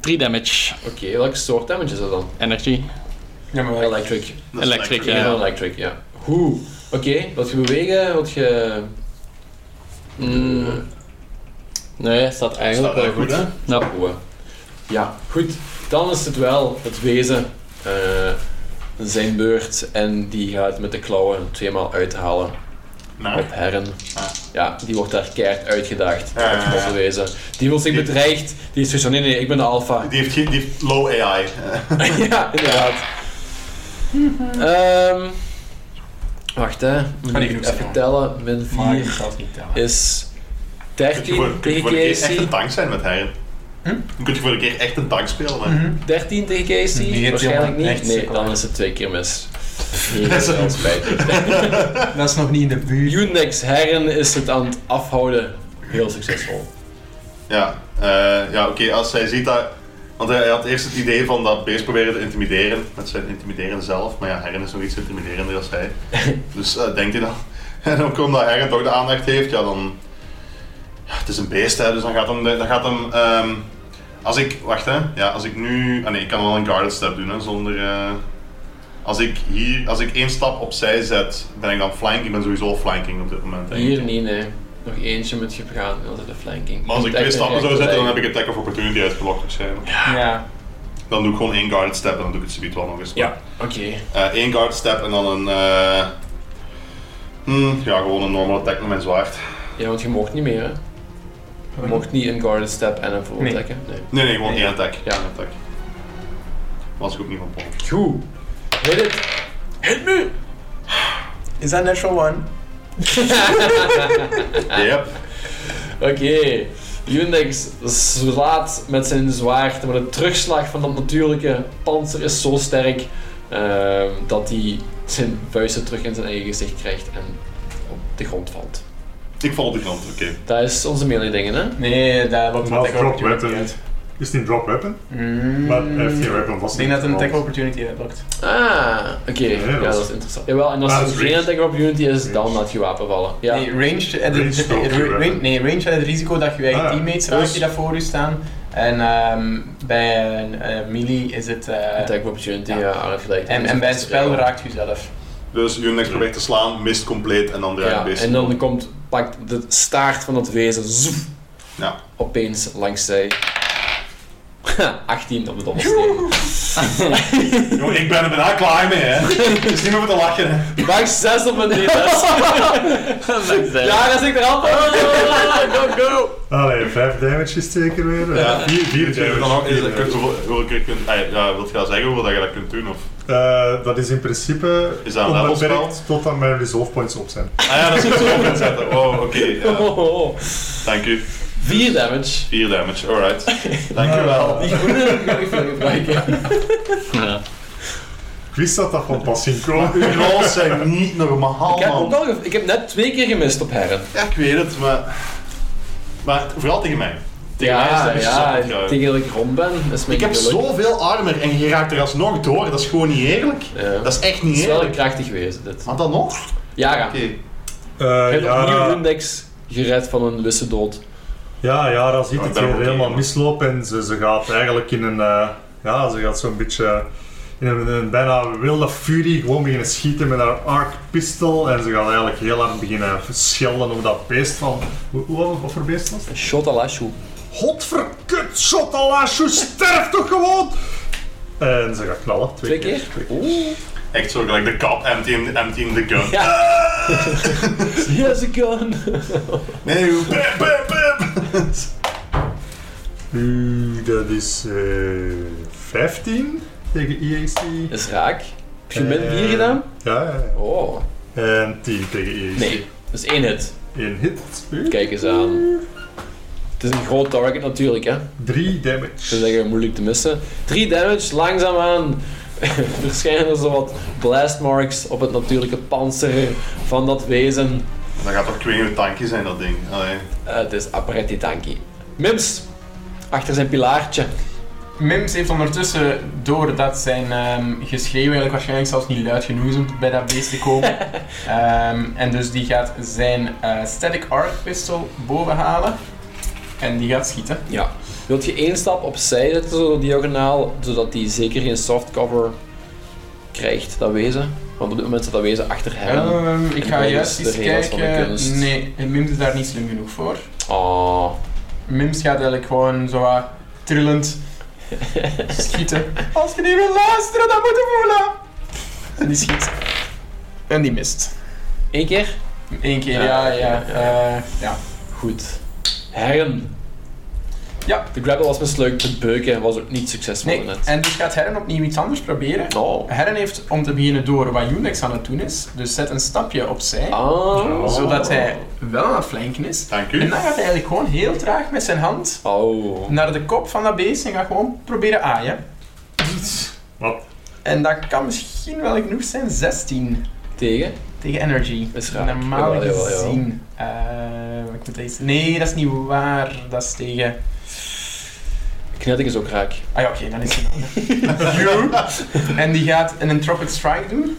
Speaker 5: 3 damage.
Speaker 1: Oké, welke soort damage is dat dan?
Speaker 5: Energy.
Speaker 4: Ja, maar wel.
Speaker 1: Electric.
Speaker 2: Dat is
Speaker 5: Electric,
Speaker 2: lekker.
Speaker 1: Ja,
Speaker 5: Ja.
Speaker 1: electric, ja. Hoe? Oké, wat je bewegen, wat je... Hmm.
Speaker 5: Mm. Nee, staat eigenlijk
Speaker 2: Staat
Speaker 5: wel
Speaker 2: wel
Speaker 5: goed.
Speaker 2: goed, hè?
Speaker 5: Nou,
Speaker 1: Oeh. Ja, goed. Dan is het wel het wezen. eh, zijn beurt. En die gaat met de klauwen tweemaal uithalen
Speaker 2: Nou,
Speaker 1: op herren.
Speaker 2: Ah.
Speaker 1: Ja, die wordt daar keihard uitgedaagd.
Speaker 2: Ja, ja, ja.
Speaker 1: Het wezen. Die wil zich
Speaker 2: Die-
Speaker 1: bedreigd. Die is zoiets van, nee, nee, ik ben de alfa.
Speaker 2: die, heeft geen, die heeft low AI. eh.
Speaker 1: ja, inderdaad. Ehm, wacht hè, moet
Speaker 4: Kan
Speaker 1: ik
Speaker 4: ik ook
Speaker 1: even
Speaker 4: zeggen.
Speaker 1: tellen. Min
Speaker 4: Maar ik
Speaker 1: 4
Speaker 4: zal het niet tellen.
Speaker 1: is
Speaker 2: Kun je voor,
Speaker 1: 13
Speaker 2: kun je
Speaker 1: tegen
Speaker 2: voor de keer echt
Speaker 1: Casey.
Speaker 2: een tank zijn met Herren?
Speaker 4: Hm?
Speaker 2: Dan kun je voor de keer echt een tank spelen. hè.
Speaker 4: Mhm.
Speaker 1: 13 tegen Casey?
Speaker 4: Nee, het
Speaker 1: Waarschijnlijk
Speaker 4: jongen,
Speaker 1: niet.
Speaker 4: echt
Speaker 1: Nee,
Speaker 4: sukkel,
Speaker 1: dan
Speaker 4: hè.
Speaker 1: is het twee keer mis. Nee,
Speaker 2: Dat is
Speaker 1: dat is
Speaker 2: een-
Speaker 1: wel spijtig.
Speaker 4: Dat is nog niet in de buurt.
Speaker 1: Unix Herren is het aan het afhouden. Heel succesvol.
Speaker 2: Ja, eh, ja oké, als hij ziet dat... Want hij hij had eerst het idee van dat beest proberen te intimideren. Met zijn intimideren zelf. Maar ja, Herren is nog iets intimiderender dan hij. Dus eh, denkt hij dan... En dan komt dat Herren toch de aandacht heeft, ja dan... Ja, het is een beest, hè, dus dan gaat hem... de- Dan gaat hem ehm, als ik... Wacht, hè. Ja, als ik nu... Ah nee, ik kan wel een guarded step doen, hè, zonder... eh, als ik hier... Als ik één stap opzij zet, ben ik dan flanking. Ik ben sowieso al flanking op dit moment, denk ik.
Speaker 1: Hier niet, nee. Nog eentje moet je begaan, altijd de flanking.
Speaker 2: Maar als ik
Speaker 1: Moet echt
Speaker 2: twee
Speaker 1: een
Speaker 2: stappen zou
Speaker 1: rechte
Speaker 2: zetten, dan
Speaker 1: lijn.
Speaker 2: heb ik attack of opportunity uitgelokt waarschijnlijk.
Speaker 4: Ja.
Speaker 2: Dan doe ik gewoon één guard step en dan doe ik het subiet wel nog eens.
Speaker 1: Ja, oké.
Speaker 2: Eh, één guard step en dan een... eh, hmm, ja, gewoon een normal attack met mijn zwaard.
Speaker 1: Ja, want je mocht niet meer, hè. Je mocht niet een guarded step en een full
Speaker 4: Nee.
Speaker 1: attack, hè. Nee.
Speaker 2: Nee, nee, gewoon één attack.
Speaker 1: Ja.
Speaker 2: Eén attack. Was ik ook niet van plan.
Speaker 1: Goed. Hit it. Hit me.
Speaker 4: Is dat natural one?
Speaker 2: Yep.
Speaker 1: Oké. Yundex slaat met zijn zwaard, maar de terugslag van dat natuurlijke panzer is zo sterk ehm, dat hij zijn vuisten terug in zijn eigen gezicht krijgt en op de grond valt.
Speaker 2: Ik val op de grond, oké.
Speaker 1: Dat is onze melee dingen, hè?
Speaker 4: Nee, dat loopt
Speaker 3: Maar
Speaker 4: met de
Speaker 3: klopt,
Speaker 4: grond
Speaker 3: wetten.
Speaker 4: uit.
Speaker 3: Is het een drop weapon? Maar hij heeft geen weapon vast.
Speaker 4: Mhm. Ik denk dat het een tackle opportunity uitpakt.
Speaker 1: Ah, oké.
Speaker 3: Ja,
Speaker 1: Ja,
Speaker 3: dat
Speaker 1: dat
Speaker 3: is-
Speaker 1: is interessant. Jawel, en als
Speaker 3: Maar
Speaker 1: het
Speaker 3: het is
Speaker 1: geen
Speaker 3: ranged.
Speaker 1: attack opportunity is, dan
Speaker 3: Ranged.
Speaker 1: laat je wapen vallen. Ja.
Speaker 4: Nee, range, eh, de-
Speaker 3: Ranged
Speaker 4: de-
Speaker 3: stalk,
Speaker 4: de-
Speaker 3: je
Speaker 4: range,
Speaker 3: weapon.
Speaker 4: nee, range had het risico dat je je eigen
Speaker 3: Ah,
Speaker 4: teammates raakt
Speaker 3: dus-
Speaker 4: die daar voor je staan. En ehm, bij een eh, melee is het... eh,
Speaker 1: Attack opportunity,
Speaker 4: Ja.
Speaker 1: ja, arm flank.
Speaker 4: en, en bij een spel raakt je jezelf.
Speaker 2: Dus Unix probeert te slaan, mist compleet en dan draait
Speaker 1: Ja,
Speaker 2: het beest.
Speaker 1: en dan komt, pakt de staart van dat wezen zoef,
Speaker 2: Ja.
Speaker 1: opeens langs zij. Ha, 18 op de dobbelsteen.
Speaker 2: Jongen, ik ben er bijna klaar mee, hè. Dus Het is niet meer voor te lachen, hè.
Speaker 1: Dag 6 op mijn D6. ja, dat zit er al Go, go.
Speaker 3: Allee, 5 damage is zeker weer.
Speaker 2: Ja.
Speaker 3: 4
Speaker 2: Vier keer dan ook. Is,
Speaker 3: damage.
Speaker 2: dat- kun- hoeveel, hoeveel keer kun, ah, ja, wilt je dat zeggen hoeveel dat je dat kunt doen? Of?
Speaker 3: Eh, dat is in principe
Speaker 2: Is dat een levelspel?
Speaker 3: onbeperkt totdat mijn resolve points op zijn.
Speaker 2: Ah ja, dat is goed op inzetten. Oh, oké. ja.
Speaker 1: Oh, oh, oh.
Speaker 2: Dank u.
Speaker 1: 4 damage.
Speaker 2: 4 damage, alright. Dank u wel.
Speaker 4: Die groene heb ik nog niet veel gebruiken.
Speaker 5: eh,
Speaker 3: Ik wist dat dat van pas ging komen.
Speaker 2: Uw rolls zijn niet normaal,
Speaker 1: Ik heb, ook
Speaker 2: man.
Speaker 1: al ge- ik heb net twee keer gemist op Herren.
Speaker 2: Ja, ik weet het, maar... Maar vooral tegen mij. Tegen mij is
Speaker 1: ja,
Speaker 2: dat echt
Speaker 1: ja,
Speaker 2: zot, ja.
Speaker 1: tegen dat ik rond ben, is mijn
Speaker 2: Ik heb
Speaker 1: geluk.
Speaker 2: zoveel armor en je raakt er alsnog door. Dat is gewoon niet eerlijk.
Speaker 1: Ja.
Speaker 2: Dat is echt
Speaker 1: Het
Speaker 2: niet
Speaker 1: is wel een
Speaker 2: eerlijk.
Speaker 1: krachtig wezen, dit.
Speaker 2: Maar dan nog?
Speaker 1: Yara,
Speaker 2: Oké.
Speaker 3: Eh,
Speaker 1: je hebt opnieuw
Speaker 3: Yara,
Speaker 1: Rundex gered van een wisse dood.
Speaker 3: ja, Yara ziet
Speaker 2: Oh, ik
Speaker 3: het
Speaker 2: ben
Speaker 3: weer
Speaker 2: ook
Speaker 3: helemaal
Speaker 2: tegen.
Speaker 3: mislopen en ze, ze gaat eigenlijk in een... eh, ja, ze gaat zo'n beetje... In een, een bijna wilde furie gewoon beginnen schieten met haar arc pistol. En ze gaat eigenlijk heel hard beginnen schelden op dat beest van... Hoe, hoe, wat voor beest was dat?
Speaker 1: Shotalashu.
Speaker 3: Godverkut, Shotalashu, sterf toch gewoon! En ze gaat knallen. Twee,
Speaker 1: Twee keer? Oeh.
Speaker 2: Echt zo gelijk de kat emptying, emptying the gun.
Speaker 1: Ja. Yes, a gun.
Speaker 2: Nee, hoe- Bam, bam, bam.
Speaker 3: Oeh, dat is eh 15 tegen EAC.
Speaker 1: Dat is raak. Heb je min
Speaker 2: Eh.
Speaker 1: 4 gedaan?
Speaker 3: Ja, ja, ja.
Speaker 1: Oh.
Speaker 3: En 10 tegen EAC.
Speaker 1: Nee, dat is één hit.
Speaker 3: Eén hit.
Speaker 1: Kijk eens aan. Het is een groot target natuurlijk, hè.
Speaker 3: 3
Speaker 1: Ze
Speaker 3: damage.
Speaker 1: zeggen moeilijk te missen. 3 damage, langzaamaan verschijnen er zo wat blast marks op het natuurlijke panzer van dat wezen.
Speaker 2: Dat gaat toch kwingen tankje zijn, dat ding. Allee.
Speaker 1: Eh, het is Apparetti Tanki. Mims, achter zijn pilaartje.
Speaker 4: Mims heeft ondertussen, doordat zijn ehm geschreeuw eigenlijk waarschijnlijk zelfs niet luid genoeg is om bij dat beest te komen. Ehm, en dus die gaat zijn eh, static arc pistol boven halen. En die gaat schieten.
Speaker 1: Ja. Wilt je één stap opzij zetten, zo diagonaal, zodat hij zeker geen softcover krijgt, dat wezen? Want op dit moment zit dat wezen achter hem.
Speaker 4: Ehm, ik
Speaker 1: en
Speaker 4: ga
Speaker 1: dat is
Speaker 4: juist
Speaker 1: de
Speaker 4: eens
Speaker 1: regels van de
Speaker 4: kijken.
Speaker 1: kunst.
Speaker 4: Nee, Mims is daar niet slim genoeg voor.
Speaker 1: Oh.
Speaker 4: Mims gaat eigenlijk gewoon zo wat trillend schieten. Als je niet wil luisteren, dan moet je voelen! En die schiet. En die mist.
Speaker 1: Eén keer?
Speaker 4: Eén keer,
Speaker 1: Ja,
Speaker 4: ja, ja.
Speaker 1: ja,
Speaker 4: Ja, eh, ja.
Speaker 1: Goed. Herren.
Speaker 4: Ja.
Speaker 1: De grapple was mislukt, te beuken en was ook niet succesvol
Speaker 4: Nee,
Speaker 1: net.
Speaker 4: en dus gaat Herren opnieuw iets anders proberen.
Speaker 1: Oh.
Speaker 4: Herren heeft om te beginnen door wat Unix aan het doen is. Dus zet een stapje opzij,
Speaker 1: Ah.
Speaker 4: Oh. zodat hij wel aan het flanken is.
Speaker 2: Dank
Speaker 4: En
Speaker 2: u.
Speaker 4: dan gaat hij eigenlijk gewoon heel traag met zijn hand
Speaker 1: Oh.
Speaker 4: naar de kop van dat beest en gaat gewoon proberen aaien.
Speaker 3: Wat?
Speaker 4: En dat kan misschien wel genoeg zijn, 16
Speaker 1: Tegen?
Speaker 4: tegen energy.
Speaker 1: Is raak.
Speaker 4: Normaal
Speaker 1: Jawel, jawel, jawel.
Speaker 4: gezien. Eh, wat ik moet eens- nee, dat is niet waar. Dat is tegen.
Speaker 1: Knetting is ook raak.
Speaker 4: Ah ja, oké, dan is het You. En die gaat een Entropic Strike doen.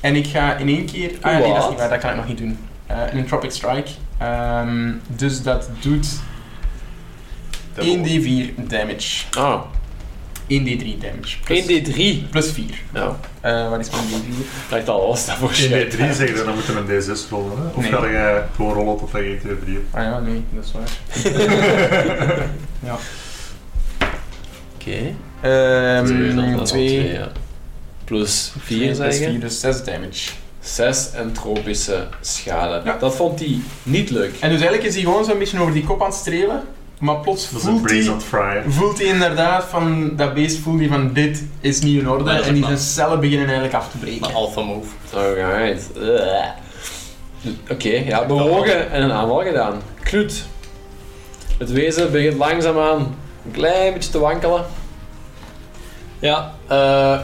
Speaker 4: En ik ga in één keer. Ah ja, nee, dat is
Speaker 1: Wat?
Speaker 4: niet waar, dat kan ik nog niet doen. Eh, een Entropic Strike. Ehm, dus dat doet 1d4 damage.
Speaker 1: Ah.
Speaker 4: 1d3 damage. Plus,
Speaker 1: 1d3.
Speaker 4: plus 4.
Speaker 1: Nou,
Speaker 4: Eh, wat is mijn d4?
Speaker 1: ik dacht al, was dat voor
Speaker 3: In
Speaker 1: shit?
Speaker 3: D3 zeggen ze, dan moeten we een D6 rollen. Hè? Of
Speaker 4: Nee.
Speaker 3: ga jij gewoon rollen tot E dat je 1, 2, 3 hebt?
Speaker 4: Ah ja, nee, dat is waar.
Speaker 1: Oké. Twee, dan, dat
Speaker 4: Ehm
Speaker 1: is al twee,
Speaker 4: 2
Speaker 1: ja. Plus 4
Speaker 4: plus
Speaker 1: zeggen.
Speaker 4: 4, dus 6 damage.
Speaker 1: 6 entropische schade.
Speaker 4: Ja.
Speaker 1: Dat vond hij niet leuk.
Speaker 4: En dus eigenlijk is hij gewoon zo'n beetje over die kop aan het strelen. Maar plots
Speaker 3: Dat is een
Speaker 4: voelt
Speaker 3: Brains
Speaker 4: hij,
Speaker 3: on Fry.
Speaker 4: voelt hij inderdaad van dat beest voelt hij van dit is niet in orde.
Speaker 5: Ja, dat is
Speaker 4: en die
Speaker 5: waar.
Speaker 4: zijn cellen beginnen eigenlijk af te breken.
Speaker 5: Een alpha move.
Speaker 1: Alright. Ugh. Oké, ja, bewogen en een aanval gedaan. Knut. Het wezen begint langzaamaan een klein beetje te wankelen.
Speaker 5: Ja, eh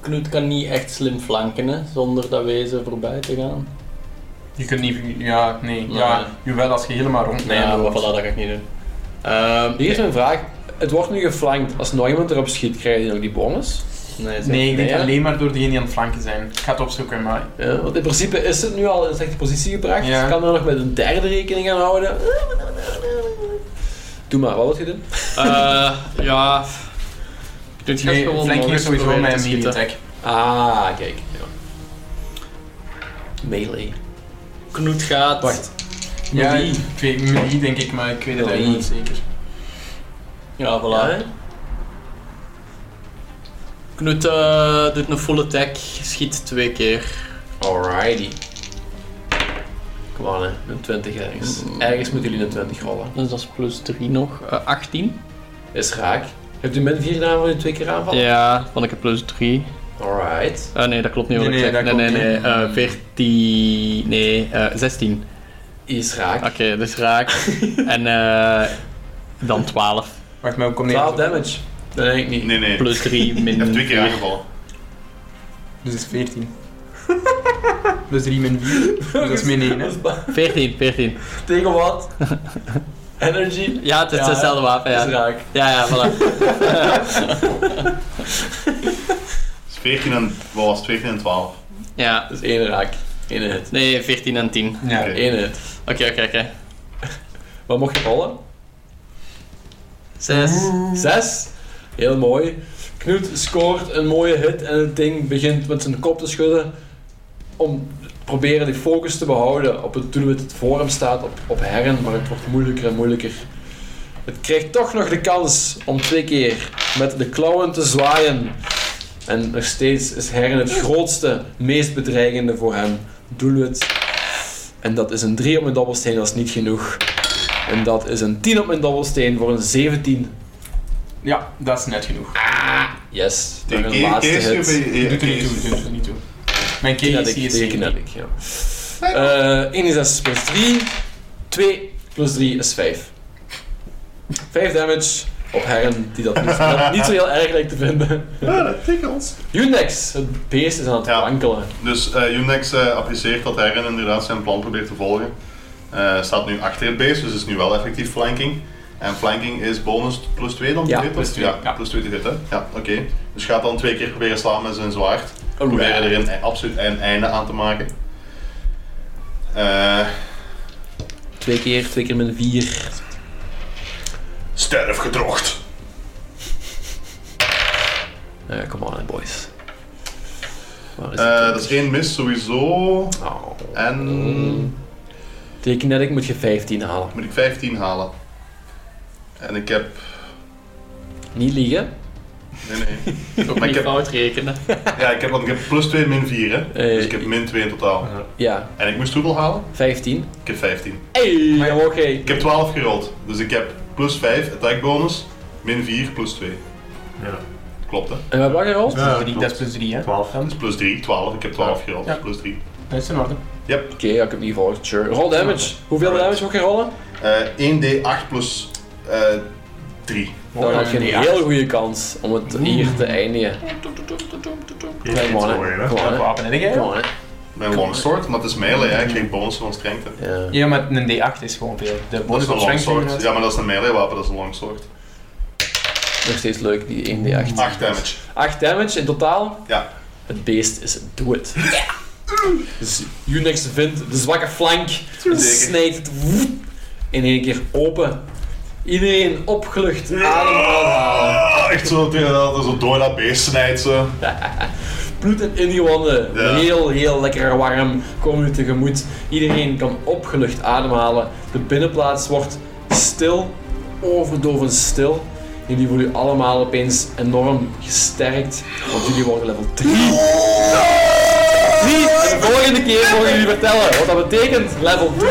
Speaker 5: Knut kan niet echt slim flanken hè, zonder dat wezen voorbij te gaan.
Speaker 4: Je kunt niet, ja, nee,
Speaker 5: Nee.
Speaker 4: ja, jawel als je helemaal rond
Speaker 5: Nee,
Speaker 4: ja,
Speaker 5: maar
Speaker 4: loopt.
Speaker 5: voilà, dat ga ik niet doen. Ehm,
Speaker 1: Hier is mijn vraag. Het wordt nu geflankt. Als nog iemand erop schiet, krijg je nog die bonus?
Speaker 5: nee, zeg-
Speaker 4: Nee, ik denk
Speaker 1: Nee, hè?
Speaker 4: alleen maar door degenen die aan het flanken zijn. Ik ga het opzoeken, maar...
Speaker 1: Ja, want in principe is het nu al in slechte positie gebracht.
Speaker 4: Ja.
Speaker 1: Kan er nog met een derde rekening gaan houden. Doe maar, wat wil je doen?
Speaker 5: Eh, ja. Dit Dus gaat
Speaker 4: Nee,
Speaker 5: gewoon
Speaker 4: flanking
Speaker 5: nog
Speaker 4: is sowieso
Speaker 5: proberen te
Speaker 4: mijn melee
Speaker 5: schieten.
Speaker 4: attack.
Speaker 1: Ah, kijk. Ja. Melee.
Speaker 5: Knoet gaat.
Speaker 1: Wacht.
Speaker 4: Ja,
Speaker 1: Melee.
Speaker 4: ik weet melee denk ik, maar ik weet het
Speaker 1: Melee.
Speaker 4: eigenlijk niet zeker.
Speaker 5: Ja, voilà.
Speaker 1: Ja, hè?
Speaker 5: Knut eh, doet een full attack, schiet twee keer.
Speaker 1: Alrighty. Kom aan, hè. Een 20 ergens. Ergens moeten jullie een 20 rollen.
Speaker 5: Dus dat is plus 3 nog. eh, 18.
Speaker 1: Is raak. Hebt u min 4 gedaan voor je twee keer aanval?
Speaker 5: Ja, dan ik heb plus 3.
Speaker 1: Alright.
Speaker 5: Eh, nee, dat klopt niet. wat
Speaker 4: Nee,
Speaker 5: ik
Speaker 4: nee,
Speaker 5: zeg.
Speaker 4: dat
Speaker 5: nee,
Speaker 4: klopt
Speaker 5: nee,
Speaker 4: niet.
Speaker 5: nee. eh, 14. Nee, eh, 16.
Speaker 1: Is raak.
Speaker 5: Oké, dus raak. en eh, dan 12.
Speaker 4: Wacht, maar hoe komt
Speaker 1: 12
Speaker 4: dat op?
Speaker 1: damage. Dat denk ik niet.
Speaker 2: Nee, nee.
Speaker 5: Plus 3 min.
Speaker 2: Hij heeft twee keer
Speaker 5: vier.
Speaker 2: aangevallen.
Speaker 4: Dus dat is 14. dus 3 min 4. Dus dat is min 1, hè.
Speaker 5: 14, 14.
Speaker 1: Tegen wat? Energy.
Speaker 5: Ja, het is
Speaker 1: Ja, hè?
Speaker 5: hetzelfde wapen.
Speaker 1: Is
Speaker 5: Ja,
Speaker 1: raak.
Speaker 5: ja, ja voilà.
Speaker 2: Dus 14 en, wat was het? 14 en 12.
Speaker 5: ja.
Speaker 1: Dat is één raak. Eén hit.
Speaker 5: Nee, 14 en 10.
Speaker 4: Ja.
Speaker 2: Oké.
Speaker 1: Eén hit.
Speaker 5: Oké, oké, oké.
Speaker 1: Wat mocht je rollen?
Speaker 5: 6.
Speaker 1: Zes. Heel mooi. Knut scoort een mooie hit en het ding begint met zijn kop te schudden. Om te proberen die focus te behouden op het doelwit dat voor hem staat, op, op Herren. Maar het wordt moeilijker en moeilijker. Het krijgt toch nog de kans om twee keer met de klauwen te zwaaien. En nog steeds is Herren het grootste, meest bedreigende voor hem doelwit. En dat is een 3 op mijn dobbelsteen, dat is niet genoeg. En dat is een 10 op mijn dobbelsteen voor een 17.
Speaker 4: Ja, dat is net genoeg.
Speaker 1: Yes, nog
Speaker 2: Tegen
Speaker 1: een
Speaker 2: Kees-
Speaker 1: laatste
Speaker 2: Kees-
Speaker 1: hit.
Speaker 2: Kees-
Speaker 4: Doet er
Speaker 2: Kees-
Speaker 4: niet toe, doet er niet toe. Mijn KC
Speaker 1: Kinetic,
Speaker 4: is
Speaker 1: tegen
Speaker 4: 17.
Speaker 1: kinetic, ja. Eh, 1 is 6 plus 3. 2 plus 3 is 5. 5 damage op Herren, die dat niet, dat niet zo heel erg lijkt te vinden.
Speaker 3: Ja, dat tikkels.
Speaker 1: Unix, het beest is aan het
Speaker 2: Ja.
Speaker 1: wankelen.
Speaker 2: Dus eh Unex eh, apprecieert dat Herren inderdaad zijn plan probeert te volgen. Eh, staat nu achter het base, dus is nu wel effectief flanking. En flanking is bonus plus 2 dan?
Speaker 1: Ja,
Speaker 2: die hit,
Speaker 1: plus
Speaker 2: of?
Speaker 1: twee,
Speaker 2: Ja,
Speaker 4: ja.
Speaker 2: plus 2 te hit, hè? Ja, oké. Dus gaat dan twee keer proberen slaan met zijn zwaard. Proberen er
Speaker 1: Alright.
Speaker 2: een, e- absoluut een einde aan te maken. Eh
Speaker 1: Twee keer, twee keer min 4.
Speaker 2: sterf gedrocht.
Speaker 1: Eh come on, boys. Waar is
Speaker 2: Eh,
Speaker 1: het?
Speaker 2: dat is één mis sowieso.
Speaker 1: Oh.
Speaker 2: En
Speaker 1: Mm. Tegen kinetic moet je 15 halen.
Speaker 2: moet ik 15 halen. En ik heb.
Speaker 1: Niet liegen.
Speaker 2: Nee, nee.
Speaker 5: Ook
Speaker 2: Maar ik
Speaker 5: niet
Speaker 2: heb-
Speaker 5: fout rekenen.
Speaker 2: Ja, ik heb, want ik heb plus 2 min 4, hè?
Speaker 1: Eh,
Speaker 2: Dus ik heb min 2 in totaal.
Speaker 3: Ja.
Speaker 1: Ja,
Speaker 2: En ik moest hoeveel halen?
Speaker 1: 15.
Speaker 2: Ik heb 15.
Speaker 1: Hey,
Speaker 4: Maar-
Speaker 1: oké.
Speaker 2: Ik heb 12 gerold. Dus ik heb plus 5 attack bonus, min 4 plus 2.
Speaker 3: Ja.
Speaker 2: Klopt hè?
Speaker 1: En we hebben gerold?
Speaker 3: Ja.
Speaker 4: Drie, Dat is plus 3, hè.
Speaker 3: 12.
Speaker 2: Dat is plus 3, 12. Ik heb 12 gerold,
Speaker 4: Ja.
Speaker 2: dus plus 3.
Speaker 4: Dat is in orde.
Speaker 2: Yep.
Speaker 1: Oké, ja, ik heb niet gevolgd. Sure. Roll damage. Hoeveel
Speaker 2: Alright.
Speaker 1: damage mag je rollen?
Speaker 2: Eh 1d8 plus eh 3.
Speaker 1: Dan had je een
Speaker 4: Ja.
Speaker 1: heel goede kans om het hier te eindigen.
Speaker 3: Eén
Speaker 1: Kom
Speaker 3: hit
Speaker 1: on, hè.
Speaker 3: voor je, hè.
Speaker 1: Kom
Speaker 4: Welk
Speaker 1: on, hè.
Speaker 4: wapen heb jij?
Speaker 1: Kom on, hè.
Speaker 2: Mijn longsword, maar het is melee, hè? ik krijg bonussen van strength. hè.
Speaker 1: Ja.
Speaker 4: Ja, maar een D8 is gewoon veel. De
Speaker 2: Dat
Speaker 4: bonus
Speaker 2: is
Speaker 4: op
Speaker 2: een
Speaker 4: strength
Speaker 2: longsword.
Speaker 4: inderdaad.
Speaker 2: Ja, maar dat is een melee wapen, dat is een longsword.
Speaker 1: Nog steeds leuk, die 1d8.
Speaker 2: 8 damage.
Speaker 1: 8 damage in totaal.
Speaker 2: Ja.
Speaker 1: Het beest is dood. Dus Unix vindt de zwakke flank en snijdt het woep in één keer open. Iedereen opgelucht, ademhalen.
Speaker 2: Ah, echt zo, tegen dat dat zo door dat beest snijdt. Zo.
Speaker 1: bloed en in die wanden.
Speaker 2: Ja.
Speaker 1: Heel, heel lekker warm. Komen we tegemoet. Iedereen kan opgelucht ademhalen. De binnenplaats wordt stil, overdovend stil. Jullie voelen allemaal opeens enorm gesterkt, want jullie worden level 3. 3! En de volgende keer mogen jullie vertellen wat dat betekent, level 3.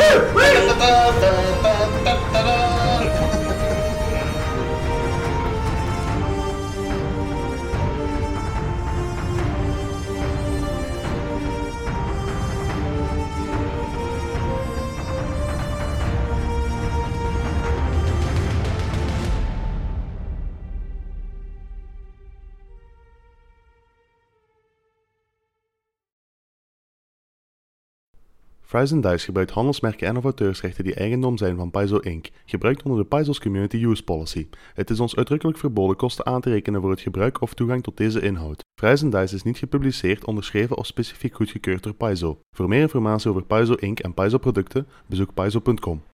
Speaker 2: Fries and Dice gebruikt handelsmerken en of auteursrechten die eigendom zijn van Paizo Inc., gebruikt onder de Paizo's Community Use Policy. Het is ons uitdrukkelijk verboden kosten aan te rekenen voor het gebruik of toegang tot deze inhoud. Fries and Dice is niet gepubliceerd, onderschreven of specifiek goedgekeurd door Paizo. Voor meer informatie over Paizo Inc. en Paizo producten, bezoek paizo.com.